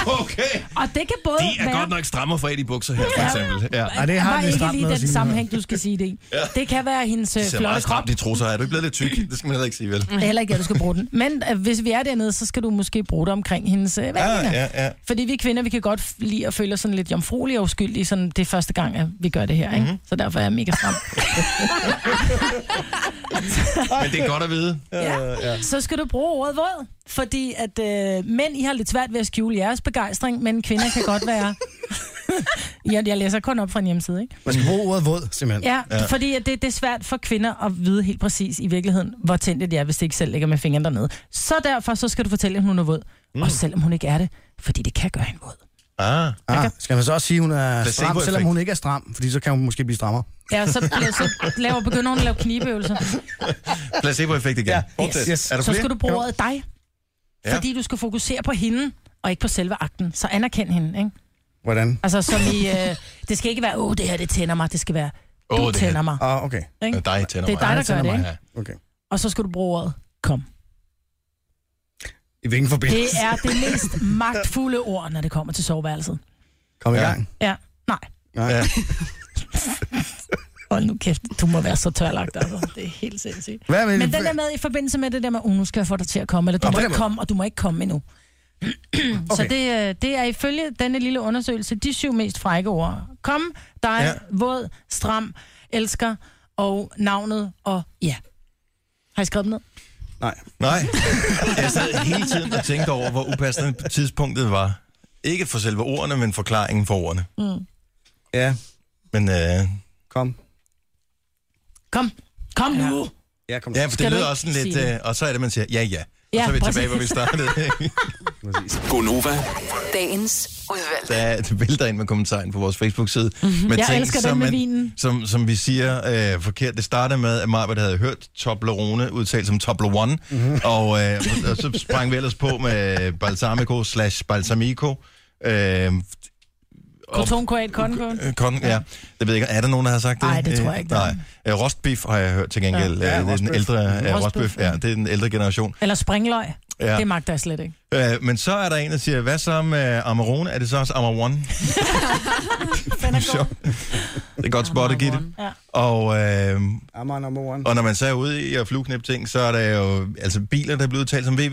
S1: Okay.
S4: Og det kan både
S1: De er
S4: være...
S1: godt nok strammer for i bukser her, for eksempel. Ja.
S2: Ej, det har
S4: Bare
S2: vi
S4: ikke
S2: stramt
S4: lige
S2: noget at
S4: den
S2: sige.
S4: sammenhæng, du skal sige det i. Ja. Det kan være hendes øh,
S1: De ser
S4: flotte
S1: meget
S4: krop. Mm.
S1: stramt, de trusser her. Er du ikke blevet lidt tyk? Det skal man heller ikke sige, vel?
S4: Det er heller ikke, at du skal bruge den. Men øh, hvis vi er dernede, så skal du måske bruge det omkring hendes øh, vagina.
S1: Ja, ja, ja.
S4: Fordi vi kvinder, vi kan godt f- lide at føle os sådan lidt jomfruelige og uskyldige, sådan det er første gang, at vi gør det her, ikke? Mm-hmm. Så derfor er jeg mega stram.
S1: Men det er godt at vide.
S4: så skal du bruge ordet våd, fordi at øh, mænd, I har lidt svært ved at skjule jeres begejstring, men kvinder kan godt være... ja, jeg læser kun op fra en hjemmeside, ikke?
S2: Man skal bruge ordet våd, simpelthen.
S4: Ja, ja. fordi at det, det er svært for kvinder at vide helt præcis i virkeligheden, hvor tændte det er, hvis det ikke selv ligger med fingeren dernede. Så derfor så skal du fortælle, at hun er våd. Mm. Også selvom hun ikke er det, fordi det kan gøre hende våd.
S1: Ah.
S2: Ah, skal man så også sige, at hun er stram,
S1: Placeboeffekt.
S2: selvom hun ikke er stram? Fordi så kan hun måske blive strammere.
S4: Ja, så, bliver- så laver, begynder hun at lave knibeøvelser.
S1: Placeboeffekt igen.
S2: Ja.
S1: Fortsæt.
S2: Yes, yes.
S1: Er der
S4: Så
S1: flere?
S4: skal du bruge ordet dig,
S1: Ja.
S4: fordi du skal fokusere på hende, og ikke på selve akten. Så anerkend hende, ikke?
S2: Hvordan?
S4: Altså, som i, øh, det skal ikke være, åh, det her, det tænder mig. Det skal være, du
S1: Åh,
S4: oh,
S1: det her-
S4: tænder mig.
S2: Ah, okay.
S1: Ja,
S4: Ikke?
S1: dig tænder
S4: Det er dig, der gør det, ikke?
S1: Ja.
S2: okay.
S4: Og så skal du bruge ordet, kom.
S2: I hvilken
S4: Det
S2: forbindelse?
S4: er det mest magtfulde ord, når det kommer til soveværelset.
S2: Kom i
S1: Ja.
S2: gang.
S4: Ja, nej.
S2: Nej.
S1: Ja.
S4: Hold nu kæft, du må være så tørlagt. Altså. Det er helt sindssygt.
S2: Øh, Hvad med,
S4: Men den der med i forbindelse med det der med, uh, nu skal jeg få dig til at komme, eller du
S2: Nå,
S4: må
S2: på den
S4: ikke
S2: måde.
S4: komme, og du må ikke komme endnu. Okay. Så det, øh, det er ifølge denne lille undersøgelse de syv mest frække ord. Kom, dig,
S1: Ja.
S4: ja. våd, stram, elsker og navnet og ja. Har I skrevet dem ned?
S2: Nej.
S1: Nej. Jeg sad hele tiden og tænkte over, hvor upassende tidspunktet var. Ikke for selve ordene, men forklaringen for ordene.
S2: Ja,
S1: Men øh,
S2: kom.
S4: Kom, kom ja. nu.
S2: Ja, kom.
S1: ja, for
S4: Skal
S1: det lyder
S4: du ikke
S1: også sådan lidt...
S4: sige
S1: Øh, og så er det, man siger, ja, ja. Og
S4: Ja,
S1: så er vi
S4: præcis.
S1: tilbage, hvor vi startede.
S9: Gonova,
S11: Dagens udvalgte.
S1: der er- det vælter ind med kommentaren på vores Facebook-side. Mm-hmm. Med
S4: Mhm. Jeg elsker den
S1: som,
S4: med
S1: man-
S4: vinen.
S1: Som, som vi siger øh, forkert. Det startede med, at Marbert havde hørt Toblerone udtalt som Toblerone, mm-hmm. og, øh, og så sprang vi ellers på med balsamico slash balsamico. Øh, og-
S4: Korton, koat, konkon.
S1: Øh, Kon, ja. Det ved jeg ikke. Er der nogen, der har sagt det?
S4: Nej, det tror jeg
S1: Øh,
S4: ikke, der
S1: Nej. Øh, Rostbiff har jeg hørt til gengæld.
S2: Ja,
S1: Ja, det er den
S2: rostbøf.
S1: ældre ja,
S4: Rostbøf,
S1: rostbøf. Ja,
S4: ja.
S1: det er den ældre generation.
S4: Eller springløg.
S1: Ja.
S4: Ja. Det magter jeg slet ikke.
S1: Øh, men så er der en, der siger, hvad så med Amarone? Er det så også Amarone?
S4: Den er god.
S1: Sjovt. det er godt spottet, Gitte.
S4: Ja.
S1: Og, øh,
S2: I'm on number one.
S1: og når man så er ude i at flueknæppe ting, så er der jo altså, biler, der er blevet talt som VV.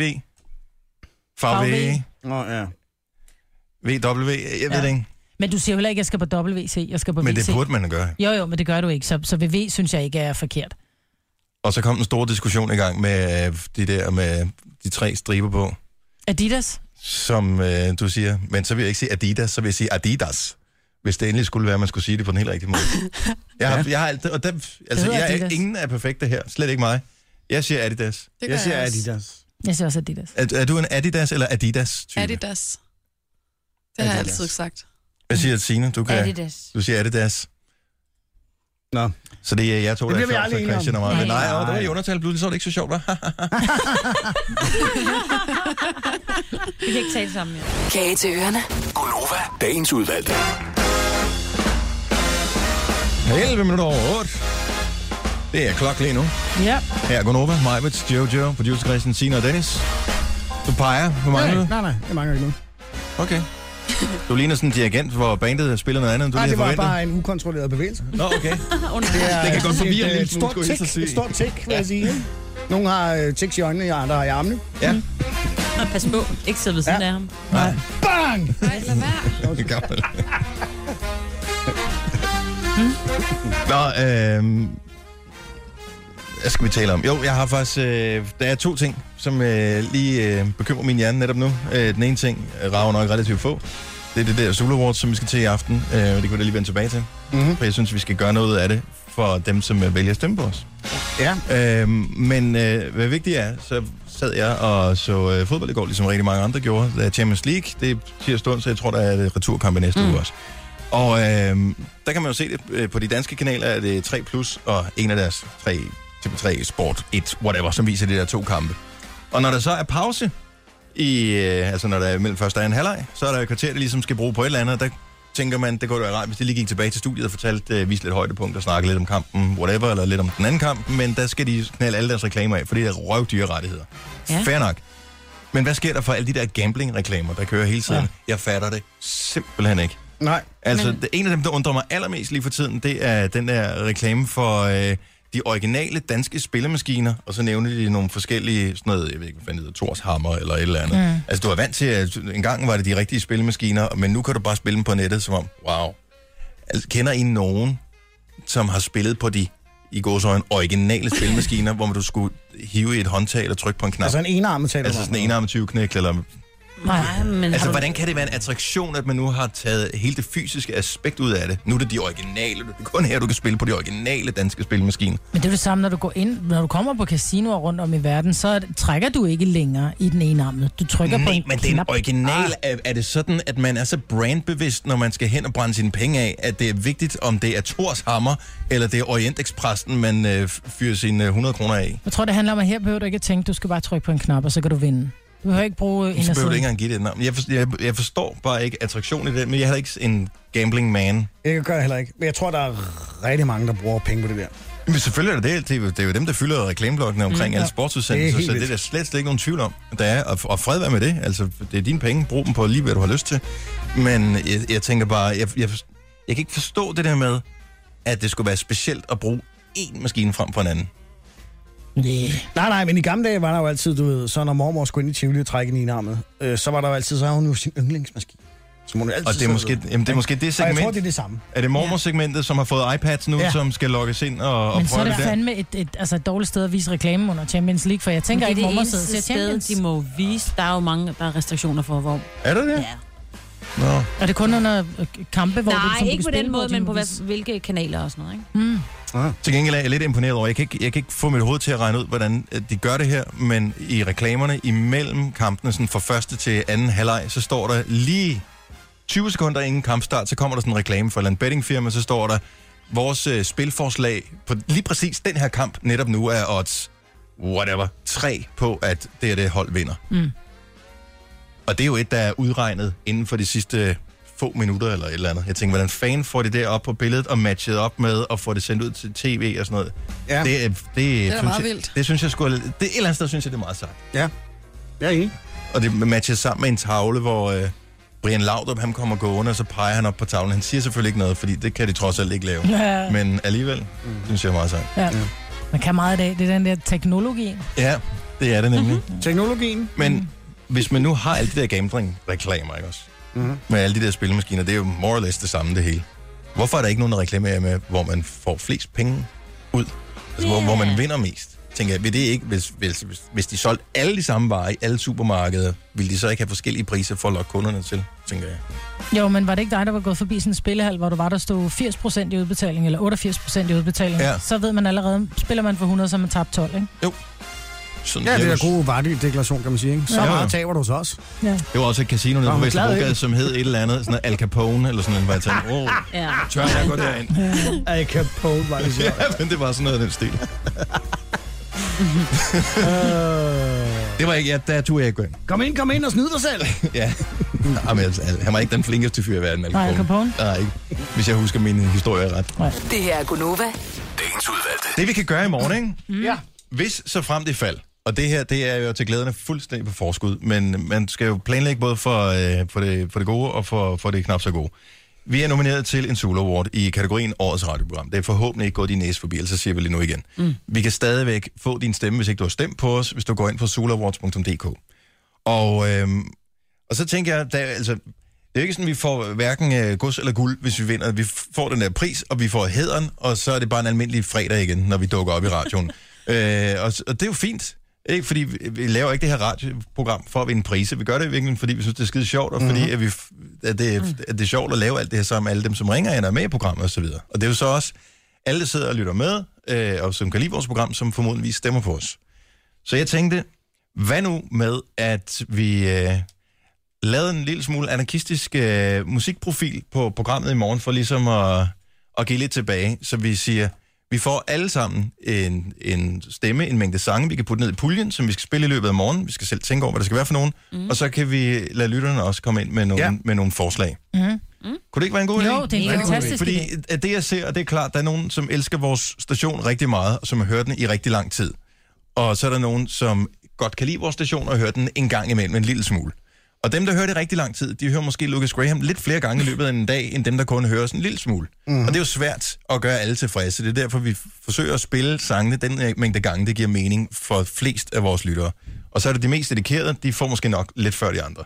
S1: Farve.
S4: Farve.
S2: Nå, ja.
S1: VW. Jeg ved
S4: Ja.
S1: det ikke.
S4: Men du siger jo heller ikke, at jeg skal på WC, jeg skal på
S1: Men
S4: WC.
S1: det burde man gøre.
S4: Jo, jo, men det gør du ikke, så, så VV synes jeg ikke er forkert.
S1: Og så kom den store diskussion i gang med øh, de der med de tre striber på.
S4: Adidas?
S1: som øh, du siger. Men så vil jeg ikke sige Adidas, så vil jeg sige Adidas. Hvis det endelig skulle være, at man skulle sige det på den helt rigtige måde. Jeg har, jeg har alt, og dem, altså,
S4: hedder
S1: jeg, er-
S4: Adidas.
S1: ingen er perfekte her. Slet ikke mig. Jeg siger Adidas.
S7: Det gør
S2: Jeg siger
S7: også.
S2: Adidas.
S4: Jeg siger også Adidas.
S1: Er, er du en Adidas eller Adidas-type?
S7: Adidas. Det har jeg
S2: Adidas.
S7: altid sagt.
S1: Hvad siger Signe? Du, kan,
S8: Adidas.
S1: du siger Adidas.
S2: Nå.
S1: Så det er jeg to,
S2: Det
S1: der
S2: bliver vi
S1: er
S2: aldrig
S1: sjovt for
S2: enige om.
S1: Christian og mig. Men
S4: Nej.
S1: nej, åh, det var i undertal pludselig, så var det ikke så sjovt, hva'?
S8: Vi kan ikke tale sammen, ja.
S11: Kage til ørerne.
S9: Gonova, dagens udvalgte.
S1: 11 minutter over 8. Det er klok lige nu.
S4: Ja.
S1: Her er Gunova, Majbets, Jojo, producer Christian, Signe og Dennis. Du peger. Hvor mange er du?
S2: Nej, nej, det mangler ikke noget.
S1: Okay. Du ligner sådan en dirigent, hvor bandet spiller noget andet, end du
S2: Nej,
S1: lige
S2: det
S1: har
S2: var
S1: forventet.
S2: bare en ukontrolleret bevægelse.
S1: Nå, okay.
S2: Det, er,
S1: Det kan godt forvirre en
S2: et, øh,
S1: lille smule,
S2: stort
S1: skulle jeg hilse
S2: tik,
S1: at sige.
S2: et stort tik, vil jeg sige. Nogle har øh, tics i øjnene, og andre har i armene.
S1: Ja.
S8: Og pas på, ikke sidde ved siden
S2: Ja.
S8: ja. af ham.
S1: Nej.
S2: Bang!
S7: Nej, lad være.
S1: Det er gammelt. Nå, øhm, hvad skal vi tale om? Jo, jeg har faktisk... Øh, der er to ting, som øh, lige øh, bekymrer min hjerne netop nu. Øh, den ene ting øh, rager nok relativt få. Det er det der Zulu Awards, som vi skal til i aften. Øh, det kan vi da lige vende tilbage til. Mm-hmm. For jeg synes, vi skal gøre noget af det for dem, som øh, vælger at stemme på os. Ja. Øh, men øh, hvad vigtigt er, så sad jeg og så øh, fodbold i går, ligesom rigtig mange andre gjorde. Der er Champions League, det er tirsdag, onsdag, jeg tror, der er øh, returkamp i næste mm. uge også. Og øh, der kan man jo se det øh, på de danske kanaler, er det 3 Plus og en af deres 3, TV3 Sport 1, whatever, som viser de der to kampe. Og når der så er pause, i, øh, altså når der er mellem første og anden halvleg, så er der et kvarter, der ligesom skal bruge på et eller andet, og der tænker man, det kunne da være rart, hvis de lige gik tilbage til studiet og fortalte, øh, viste lidt højdepunkt og snakke lidt om kampen, whatever, eller lidt om den anden kamp, men der skal de knalde alle deres reklamer af, for det er røvdyre rettigheder. Ja. Fair nok. Men hvad sker der for alle de der gambling-reklamer, der kører hele tiden? Ja. Jeg fatter det simpelthen ikke.
S2: Nej.
S1: Altså, men... det, en af dem, der undrer mig allermest lige for tiden, det er den der reklame for øh, de originale danske spillemaskiner, og så nævner de nogle forskellige, sådan noget, jeg ved ikke, hvad fanden hedder, Thors Hammer eller et eller andet. Mm.
S13: Mm.
S1: Altså, du er vant til, at engang var det de rigtige spillemaskiner, men nu kan du bare spille dem på nettet, som om, wow. Altså, kender I nogen, som har spillet på de i gåsøjne originale spilmaskiner, hvor du skulle hive i et håndtag eller trykke på en knap.
S2: Altså en enarmet taler du
S1: Altså
S2: om,
S1: sådan en enarmet 20 knæk, eller
S8: Nej, men
S1: Altså,
S8: har du-
S1: hvordan kan det være en attraktion, at man nu har taget hele det fysiske aspekt ud af det? Nu er det de originale. Det er kun her, du kan spille på de originale danske spilmaskine.
S4: Men det er det samme, når du går ind, når du kommer på casinoer rundt om i verden, så er det- trækker du ikke længere i den ene arm. Du trykker på
S1: Nej,
S4: en
S1: Mm, men den
S4: knap.
S1: original, er, er det sådan, at man er så brandbevidst, når man skal hen og brænde sine penge af, at det er vigtigt, om det er Thors Hammer, eller det er Orient Expressen, man øh, f- fyrer sine øh, 100 kroner af?
S4: Jeg tror, det handler om, at her behøver du ikke at tænke, du skal bare trykke på en knap, og så kan du vinde. Du behøver ikke
S1: Så
S4: bruge
S1: behøver du ikke
S4: indersiden.
S1: engang give det et navn. Jeg, for, jeg, jeg forstår bare ikke attraktionen i det, men jeg er heller ikke en gambling man.
S2: Jeg gør det heller ikke. Men jeg tror, der er rigtig mange, der bruger penge på det der.
S1: Men selvfølgelig er det det. Det er jo, det er jo dem, der fylder reklameblokkene omkring
S2: Mm,
S1: mm,
S2: ja.
S1: alle
S2: Det er
S1: sportsudsendelser,
S2: helt
S1: så det er
S2: vildt.
S1: der slet, slet ikke nogen tvivl om, der er. Og, og fred være med det. Altså, det er dine penge. Brug dem på lige, hvad du har lyst til. Men jeg, jeg tænker bare, jeg, jeg, forst- jeg kan ikke forstå det der med, at det skulle være specielt at bruge én maskine frem for en anden.
S4: Nej.
S2: Nej, nej, men i gamle dage var der jo altid, du ved, så når mormor skulle ind i Tivoli og trække en enarmet, øh, så var der jo altid, så havde hun jo sin yndlingsmaskine. Så må hun jo altid
S1: Og det er
S2: sidde
S1: måske,
S2: ved.
S1: jamen, det, er måske det
S2: Og
S1: segment.
S2: jeg tror, det er det samme.
S1: Er det mormorsegmentet, som har fået iPads nu,
S2: Ja.
S1: ja. som skal logges ind og, og
S4: Men så er
S1: prøve
S4: det
S1: det der?
S4: fandme et, et, altså et dårligt sted at vise reklame under Champions League, for jeg
S8: Men
S4: tænker
S8: det er
S4: ikke,
S8: det
S4: at sidder
S8: eneste
S4: til
S8: sted,
S4: Champions.
S8: de må vise. Der er jo mange, der er restriktioner for, hvor...
S1: Er det det? Ja. Nå.
S4: Og det er kun under øh, kampe, hvor du,
S8: Nej,
S4: som du
S8: ikke
S4: kan
S8: på
S4: spille,
S8: den
S4: hvor
S8: måde,
S4: de
S8: men
S4: må
S8: på
S4: vise-
S8: hvad, hvilke kanaler og sådan noget, ikke?
S4: Mm.
S1: Ah. Til gengæld er jeg lidt imponeret over, jeg kan, ikke, jeg kan ikke få mit hoved til at regne ud, hvordan øh, de gør det her, men i reklamerne imellem kampene, sådan fra første til anden halvleg, så står der lige 20 sekunder inden kampstart, så kommer der sådan en reklame for en bettingfirma, så står der, vores øh, spilforslag på lige præcis den her kamp netop nu er odds, whatever, 3 på, at det er det hold vinder.
S4: Mm.
S1: Og det er jo et, der er udregnet inden for de sidste få minutter eller et eller andet. Jeg tænker, hvordan fanden får det der op på billedet og matchet op med og får det sendt ud til tv og sådan noget.
S2: Ja.
S1: Det, er- det, det,
S2: da
S1: synes
S2: meget
S1: jeg,
S2: vildt.
S1: det synes jeg skulle, det, et eller andet sted synes jeg, det er meget sejt.
S2: Ja. Jeg er enig.
S1: Og det matches sammen med en tavle, hvor øh, Brian Laudrup, han kommer gående, og så peger han op på tavlen. Han siger selvfølgelig ikke noget, fordi det kan de trods alt ikke lave.
S4: Ja.
S1: Men alligevel, mm. synes jeg er meget sejt.
S4: Ja. Man kan meget i dag. Det er den der teknologi.
S1: Ja, det er det nemlig.
S2: Mhm. Teknologien.
S1: Men hvis man nu har alle de der gambling-reklamer, ikke også?
S2: Mhm.
S1: Med alle de der spilmaskiner, det er jo more or less det samme, det hele. Hvorfor er der ikke nogen, der reklamerer med, hvor man får flest penge ud? Altså, hvor, hvor man vinder mest? Tænker jeg, vil det ikke, hvis, hvis, hvis, hvis de solgte alle de samme varer i alle supermarkeder, ville de så ikke have forskellige priser for at lokke kunderne til, tænker jeg.
S4: Jo, men var det ikke dig, der var gået forbi sådan en spillehal, hvor du var, der stod 80% i udbetaling, eller 88% i udbetaling?
S1: Ja.
S4: Så ved man allerede, spiller man for 100, så er man tabt 12, ikke?
S1: Sådan,
S2: Ja, det er
S1: jo-
S2: der gode vardy-deklaration, kan man sige, ikke? Så
S1: Ja.
S2: ja.
S1: Ja.
S2: meget taber du så også.
S4: Ja.
S1: Det var også et casino nede
S2: Nå,
S1: på
S2: hun er glad,
S1: Vesterbrogade,
S2: ikke?
S1: som hed et eller andet, sådan noget Al Capone, eller sådan noget, hvor jeg tænkte, åh, oh,
S8: Ja.
S1: tør jeg gå derind?
S2: Al Capone var det
S1: ja,
S2: sjovt.
S1: men det var sådan noget af den stil. det var ikke, ja, der turde jeg ikke gå ind.
S2: Øh, Kom ind, kom ind og snyd dig selv.
S1: ja. Jamen, altså, han var ikke den flinkeste fyr i verden, Al
S4: Nej,
S1: Capone.
S4: Capone.
S1: Nej, ikke. Hvis jeg husker min historie ret.
S11: Det her er Gunova.
S9: Dagens udvalgte.
S1: Det vi kan gøre i morgen, ikke?
S2: Mm. Ja.
S1: Hvis så frem det fald, og det her, det er jo til glæderne fuldstændig på forskud, men man skal jo planlægge både for, øh, for, det, for det gode og for, for det knap så gode. Vi er nomineret til en Solo Award i kategorien Årets Radioprogram. Det er forhåbentlig ikke gået din næse forbi, ellers så siger vi lige nu igen. Mm. Vi kan stadigvæk få din stemme, hvis ikke du har stemt på os, hvis du går ind på soloawards.dk. Og, øhm, og så tænker jeg, der, er- altså, det er jo ikke sådan, vi får hverken øh, gods eller guld, hvis vi vinder. Vi f- får den der pris, og vi får hæderen, og så er det bare en almindelig fredag igen, når vi dukker op i radioen. øh, og, s- og det er jo fint. Ikke fordi vi vi laver ikke det her radioprogram for at vinde priser. Vi gør det i virkeligheden, fordi vi synes, det er skide sjovt, og fordi
S2: Mhm.
S1: at, vi, f- at, det, at det er sjovt at lave alt det her sammen med alle dem, som ringer ind og er med i programmet osv. Og det er jo så også alle, der sidder og lytter med, øh, og som kan lide vores program, som formodentlig stemmer på os. Så jeg tænkte, hvad nu med, at vi øh, lavede en lille smule anarkistisk øh, musikprofil på programmet i morgen, for ligesom at, at give lidt tilbage, så vi siger, vi får alle sammen en, en stemme, en mængde sange, vi kan putte ned i puljen, som vi skal spille i løbet af morgen. Vi skal selv tænke over, hvad det skal være for nogen. Mm. Og så kan vi lade lytterne også komme ind med nogle, ja. med nogle forslag.
S4: Mm.
S1: Kunne det ikke være en god idé?
S4: Jo, det er en
S1: Rigtig god
S4: fantastisk
S1: Fordi
S4: idé.
S1: at det, jeg ser, og det er klart, der er nogen, som elsker vores station rigtig meget, og som har hørt den i rigtig lang tid. Og så er der nogen, som godt kan lide vores station og hører den en gang imellem, en lille smule. Og dem, der hører det rigtig lang tid, de hører måske Lucas Graham lidt flere gange i løbet af en dag, end dem, der kun hører sådan en lille smule. Mm. Og det er jo svært at gøre alle tilfredse. Det er derfor, vi f- forsøger at spille sangene den øh, mængde gange, det giver mening for flest af vores lyttere. Og så er det de mest dedikerede, de får måske nok lidt før de andre.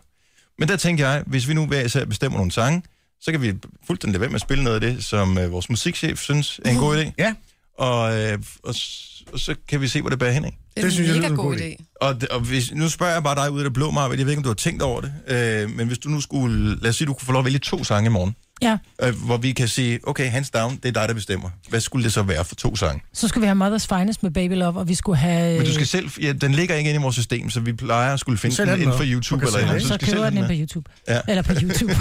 S1: Men der tænker jeg, hvis vi nu hver især bestemmer nogle sange, så kan vi fuldstændig lade være med at spille noget af det, som øh, vores musikchef synes er en god idé.
S2: Ja.
S1: Og, øh, og, s- og så kan vi se, hvor det bærer hen, ikke?
S7: Det er en mega god idé.
S1: Og, d- og hvis, nu spørger jeg bare dig ud af det blå, Marvind. Jeg ved ikke, om du har tænkt over det. Øh, men hvis du nu skulle... Lad os sige, du kunne få lov at vælge to sange i morgen.
S4: Ja,
S1: Øh, hvor vi kan sige, okay, hands down, det er dig, der bestemmer. Hvad skulle det så være for to sange?
S4: så skulle vi have Mother's Finest med Baby Love, og vi skulle have...
S1: Men du skal selv... Ja, den ligger ikke inde i vores system, så vi plejer at skulle finde
S4: Selv
S1: den
S4: have den
S1: inden for
S4: med.
S1: YouTube
S4: Du kan
S1: eller
S4: selv have
S1: andet.
S4: den. Så køber den ind på YouTube.
S1: Ja.
S4: Eller på YouTube.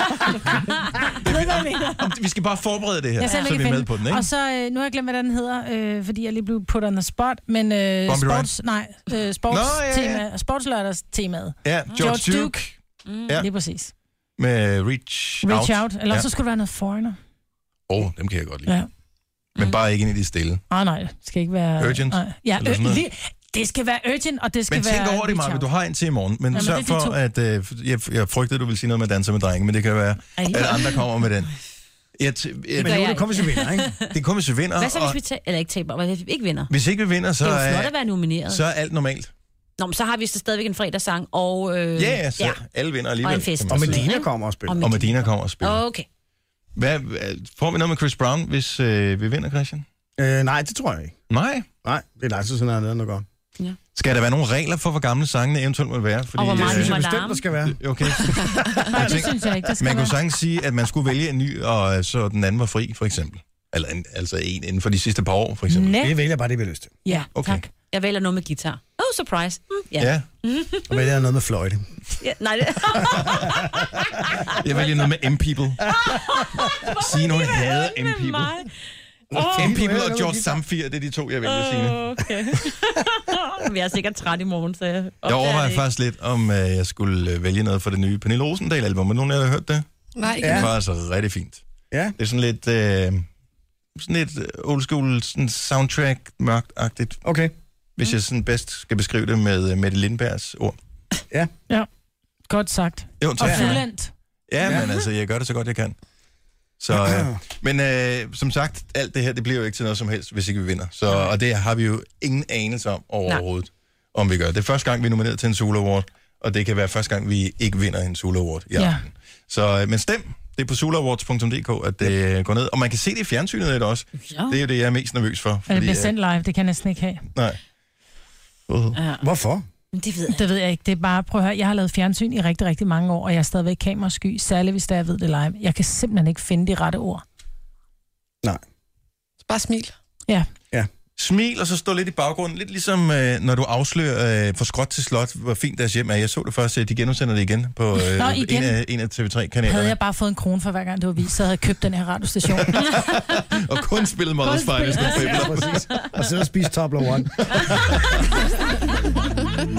S1: Mm. Ved, hvad jeg mener? Vi skal bare forberede det her,
S4: Jeg selv
S1: så
S4: ikke
S1: vi er
S4: finde
S1: med på den, ikke?
S4: Og så, øh, nu har jeg glemt, hvad den hedder, øh, fordi jeg lige blev put on the spot, men øh,
S1: Bumpy Ride?
S4: sports, nej, øh, sports
S1: Nå, ja, ja.
S4: tema, sportslørdags temaet.
S1: Ja, George Duke.
S4: Mm.
S1: Ja.
S4: Lige præcis.
S1: Med Reach,
S4: Reach out.
S1: Out.
S4: Eller ja. så skulle det være noget foreigner.
S1: Åh, oh, dem kan jeg godt lide.
S4: Ja.
S1: Men bare ikke ind i det stille.
S4: Ah, nej, det skal ikke være...
S1: Urgent,
S4: Nej. Ja,
S1: eller sådan
S4: øh,
S1: noget.
S4: lige, det skal være urgent, og det skal
S1: Men
S4: være...
S1: tænk over det,
S4: reach
S1: Maja,
S4: out.
S1: du har en til i morgen. Men
S4: Jamen,
S1: Jamen, sørg
S4: det er de
S1: for,
S4: to.
S1: at... Øh, jeg, jeg frygtede, du ville sige noget med danser med drenge, men det kan være,
S4: Ej.
S1: at andre kommer med den. Jeg t- jeg,
S8: nu er det kun, hvis vi vinder, ikke?
S1: Det er kun, hvis vi vinder.
S8: Hvad så, hvis
S1: og
S8: vi taber? Eller ikke taber, hvad hvis vi ikke vinder?
S1: hvis ikke vi vinder, så
S8: det er jo flot
S1: er,
S8: at være nomineret.
S1: så er alt normalt.
S8: Nå, men så har vi så stadigvæk en fredagssang, og... Øh,
S1: Ja, yeah, så ja. alle vinder alligevel.
S8: Og en fest.
S1: kan man
S8: Og
S1: sige.
S8: Medina kommer
S1: og
S8: spiller.
S1: Og Medina kommer og spiller.
S8: Okay.
S1: Hvad, hvad- får vi noget med Chris Brown, hvis øh, vi vinder, Christian?
S2: Øh, nej, det tror jeg ikke.
S1: Nej?
S2: Nej, det er dig, så sådan noget andet godt.
S1: Skal der være nogle regler for, hvor gamle sangene eventuelt må være? Fordi,
S2: hvor meget
S1: øh,
S2: vi må larme.
S1: Okay.
S4: Nej, det synes jeg ikke, det skal
S1: Man
S4: være.
S1: kunne sagtens sige, at man skulle vælge en ny, og øh, så den anden var fri, for eksempel. Eller en, altså en inden for de sidste par år, for eksempel.
S4: Nej. Det
S1: vælger bare det, vi har lyst til.
S8: Ja,
S1: Okay.
S8: tak. Jeg vælger noget med guitar. Oh, surprise. Mm, ja.
S1: Ja.
S8: Mhm.
S2: Og vælger jeg noget med fløjte.
S8: ja. Nej, det...
S1: Jeg vælger noget med M-People. Sige nu, jeg hader
S8: med
S1: M-People.
S8: mig. Åh.
S1: M-People og George Samfir, det er de to, jeg vælger, Signe.
S8: Åh, okay. Vi er sikkert træt i morgen, så jeg...
S1: Jeg overvejer faktisk lidt, om øh, jeg skulle øh, vælge noget fra det nye Pernille Rosendal-album. Er nogen af jer, der har hørt det?
S7: Nej, ikke
S1: Det
S7: endnu.
S1: var altså rigtig fint.
S2: Ja.
S1: Det er sådan lidt, øh, sådan lidt old school sådan soundtrack, mørkt-agtigt.
S2: Okay.
S8: Mm.
S1: Hvis jeg sådan bedst skal beskrive det med øh, Mette Lindbergs ord.
S2: Ja.
S4: Ja, godt sagt.
S1: Jo, tak.
S4: Og fuldendt.
S1: Ja,
S4: Ja.
S1: men altså, jeg gør det så godt, jeg kan. Så, øh, men øh, som sagt, alt det her, det bliver jo ikke til noget som helst, hvis ikke vi vinder. Så, og det har vi jo ingen anelse om overhovedet, Nej. om vi gør. Det er første gang, vi er nomineret til en Solo Award, og det kan være første gang, vi ikke vinder en Solo Award. i
S4: Ja.
S1: aften. Så, øh, men stem, det er på soloawards.dk, at det øh, går ned. Og man kan se det i fjernsynet lidt også.
S4: Ja.
S1: Det er jo det, jeg er mest nervøs for.
S4: Eller altså, det bliver
S1: øh,
S4: sendt live, det kan jeg næsten ikke have.
S1: Nej. Uh.
S8: Ja.
S2: Hvorfor?
S8: Det ved,
S4: det ved jeg ikke. Det er bare, prøv at høre, jeg har lavet fjernsyn i rigtig, rigtig mange år, og jeg er stadigvæk kamerasky, særligt hvis det er, jeg ved det live. Jeg kan simpelthen ikke finde de rette ord.
S7: Bare smil.
S4: Ja.
S2: Ja.
S1: Smil, og så stå lidt i baggrunden. Lidt ligesom, øh, når du afslører øh, fra skråt til slot, hvor fint deres hjem er. Jeg så det først, at de genudsender det igen på øh,
S4: Nå,
S1: En,
S4: igen.
S1: af, en af TV3-kanalerne.
S4: Havde jeg bare fået en krone for hver gang, det var vist, så havde jeg købt den her radiostation.
S1: Og kun spillet
S4: Kun
S1: Mother's
S4: spillet
S1: Finest. med
S4: Mother's-
S1: Fable.
S4: Ja, præcis.
S6: Og sidde og spise Tobler One.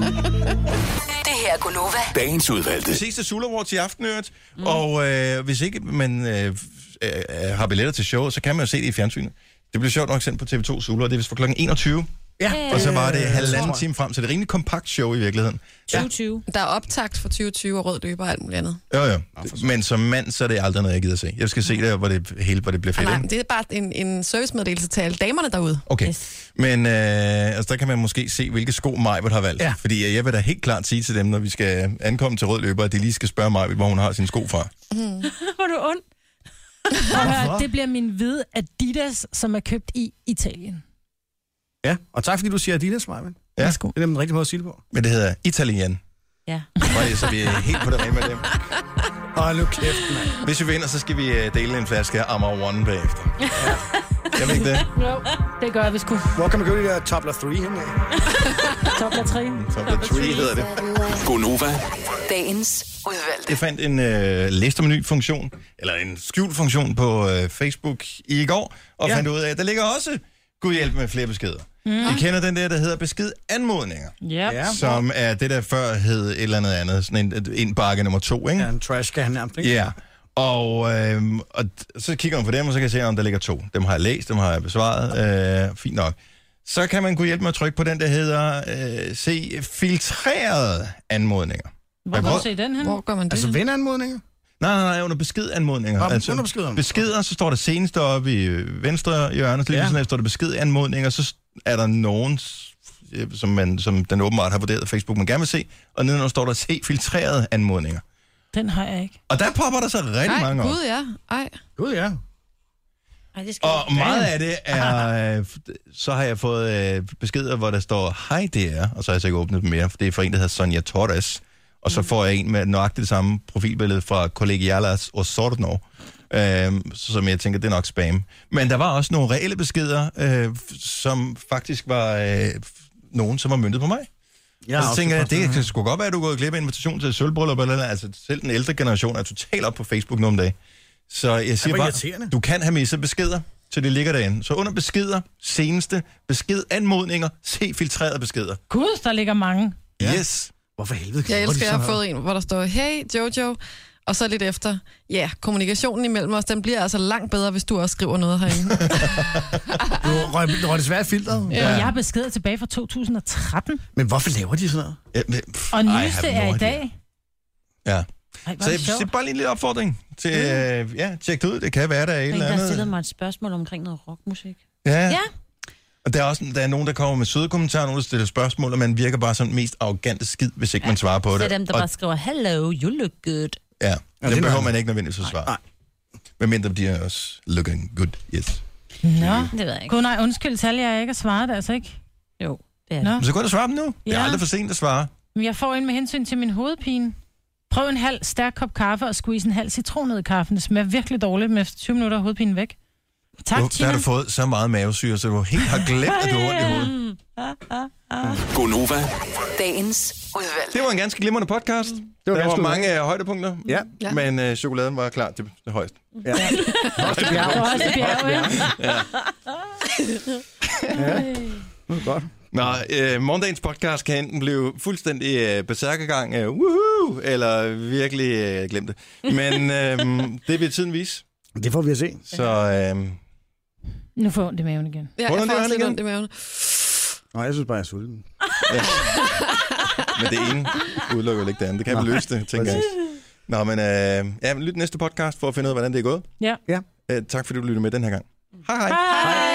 S11: Det her er Gunova.
S1: Dagens udvalgte. Vi ses til Sula Awards i aften, øvrigt. Mm. Og øh, hvis ikke man øh, øh, har billetter til showet, så kan man jo se det i fjernsynet. Det bliver sjovt nok sendt på TV2 Sula, og det er vist fra kl. 21.
S7: Ja.
S1: Og så var det
S7: Øh, tror
S1: halvanden
S7: jeg.
S1: time frem, så det er et rimelig kompakt show i virkeligheden.
S7: 2020. Der er optakt for 2020 og rød løber og alt muligt andet.
S1: Jo, jo. Men som mand, så er det aldrig noget, jeg gider se. Jeg skal se det, hvor det hele hvor det Mm. bliver fedt.
S7: Nej,
S1: ikke?
S7: men det er bare en, en servicemeddelelse til alle damerne derude.
S1: Okay. Yes. Men øh, altså, der kan man måske se, hvilke sko Majbert har valgt. Ja. Fordi øh, jeg vil da helt klart sige til dem, når vi skal ankomme til rød løber, at de lige skal spørge Majbert, hvor hun har sine sko fra.
S4: Mm.
S8: Var du ond?
S4: Og hør, det bliver min hvide Adidas, som er købt i Italien.
S2: Ja, og tak fordi du siger Adidas, Marvin.
S1: Ja.
S2: Det er den rigtige måde at sige det på.
S1: Men det hedder Italien.
S8: Ja.
S1: Bare lige, så vi er helt på det rene med dem.
S2: Hold nu kæft, mand.
S1: Hvis vi vinder, så skal vi øh, dele en flaske af Amager One bagefter. Kan vi ikke det?
S4: Jo, det gør vi sgu.
S2: Hvor kan man købe de der Tobler 3 henne?
S4: Tobler 3.
S1: Tobler 3 hedder det.
S9: Gonova.
S11: Dagens udvalgte.
S1: Jeg fandt en øh, listemenu-funktion, eller en skjult funktion på øh, Facebook i går, og ja. fandt ud af, at der ligger også, gud hjælp med flere beskeder. Mm. I kender den der, der hedder besked anmodninger,
S4: Yep. Ja.
S1: som er det, der før hed et eller andet andet, sådan en, en bakke nummer to, ikke?
S2: Ja, en trash kan nærmest, ikke?
S1: Ja, og, øh, og t- så kigger man på dem, og så kan jeg se, om der ligger to. Dem har jeg læst, dem har jeg besvaret. Øh, fint nok. Så kan man kunne hjælpe med at trykke på den, der hedder øh, se filtrerede anmodninger.
S4: Hvor kan
S1: Hvor-
S4: du se den hen?
S7: Hvor gør man det?
S2: Altså
S7: hen?
S2: vindanmodninger?
S1: Nej, nej, nej, under beskedanmodninger. Altså,
S2: Nå, under beskeder.
S1: Beskeder, så står der seneste oppe i øh, venstre hjørne, så lige
S2: Ja.
S1: ja. sådan her står der beskedanmodninger, så s- er der nogen, s- øh, som, man, som den åbenbart har vurderet at Facebook, man gerne vil se, og nedenunder står der se filtrerede anmodninger.
S4: Den har jeg ikke.
S1: Og der popper der så rigtig
S7: Ej,
S1: mange op.
S7: gud, ja. Ej.
S2: Gud, ja.
S8: Ej, det skal jeg
S1: Og meget af det er, øh, f- så har jeg fået øh, beskeder, hvor der står, hej DR, og så har jeg så ikke åbnet dem mere, for det er fra en, der hedder Sonja Torres, og så får jeg en med nøjagtigt det samme profilbillede fra Collegialas Osorno, øh, som jeg tænker, det er nok spam. Men der var også nogle reelle beskeder, øh, f- som faktisk var øh, f- nogen, som var myndet på mig.
S2: ja
S1: Og så tænker jeg,
S2: også
S1: det
S2: godt.
S1: kan sgu godt være, at du er gået glip af invitation til et sølvbryllup eller noget. Altså, selv den ældre generation er totalt op på Facebook nu om dagen. Så jeg siger
S2: hvor
S1: bare,
S2: irriterende.
S1: du kan have misset beskeder, så det ligger derinde. Så under beskeder, seneste, besked, anmodninger, se filtrerede beskeder.
S4: Gud, der ligger mange.
S1: Ja. Yes.
S2: Hvorfor helvede?
S7: Jeg
S2: gjorde de
S7: elsker, jeg har
S2: sådan
S7: fået en, hvor der står, hey Jojo, og så lidt efter, ja, yeah, kommunikationen imellem os, den bliver altså langt bedre, hvis du også skriver noget herinde.
S2: noget? Du røg, røg desværre filtret.
S4: Ja. Jeg har beskeder tilbage fra 2013,
S2: Men hvorfor laver de sådan noget?
S1: Ja, men, pff,
S4: og
S1: I have no
S4: nyeste er i
S1: idea.
S4: dag.
S1: Ja.
S4: Ej, hvor
S1: Så
S4: er
S1: jeg,
S4: det
S1: det er
S4: sjovt. Mm.
S1: bare lige en lille opfordring til, øh, ja, tjek det ud. Det kan være, der er et
S8: ikke. Der
S1: eller
S8: har
S1: andet.
S8: stillet mig et spørgsmål omkring noget rockmusik.
S1: Ja.
S8: Ja.
S1: Og der er også der er nogen, der kommer med søde kommentarer, nogen, der stiller spørgsmål, og man virker bare som den mest arrogante skid, hvis ikke ja. man svarer på det.
S8: Så er dem, der
S1: og,
S8: bare skriver, hello, you look good.
S1: Ja, ja
S2: det
S1: det
S2: er
S1: behøver
S2: noget
S1: man ikke nødvendigvis at svare.
S2: nej.
S1: Men mindre de er også looking good, yes.
S4: Nå.
S8: Det ved jeg ikke.
S4: Gud nej, undskyld, Talja, jeg ikke har svaret, altså ikke?
S8: Jo, det er
S4: Nå.
S8: det.
S1: Men så gå ind og svare dem nu. Det er
S4: Ja.
S1: aldrig for sent at svare.
S4: Men Jeg får en med hensyn til min hovedpine. Prøv en halv stærk kop kaffe og squeeze en halv citron ned i kaffen. Det smager virkelig dårligt, men efter 20 minutter er hovedpinen væk. Tak,
S1: Du, der
S4: Tina.
S1: har du fået så meget mavesyre, så du helt har glemt, at du har ondt i hovedet.
S9: Gonova.
S11: Dagens udvalgte.
S1: Det var en ganske glimrende podcast.
S2: var
S1: der var
S2: ganske
S1: mange øh, højdepunkter,
S2: Ja.
S7: Ja.
S1: men øh, chokoladen var klart det, det højeste.
S2: Ja.
S4: Ja, og også i bjerge, ja.
S2: Det er godt.
S1: Nå, øh, morgendagens podcast kan enten blive fuldstændig øh, besærkegang, øh, woohoo, eller virkelig øh, glem det. Men øh, det vil tiden vise,
S2: Det får vi at se.
S1: så øh,
S4: Nu får jeg ondt i maven igen.
S7: Ja,
S1: Hvordan
S7: jeg
S1: det
S7: får
S1: er,
S7: også lidt
S1: Annika?
S7: ondt i maven.
S2: Nå, jeg synes bare, jeg er sulten.
S1: Men det ene udelukker jo ikke det andet. Det kan vi
S2: Nej,
S1: løse det, tænker jeg. Nå, men øh, ja, men lyt næste podcast for at finde ud af, hvordan det er gået.
S4: Ja.
S2: Ja.
S1: Øh, tak fordi du lyttede med den her gang. Hej hej.
S4: Hej.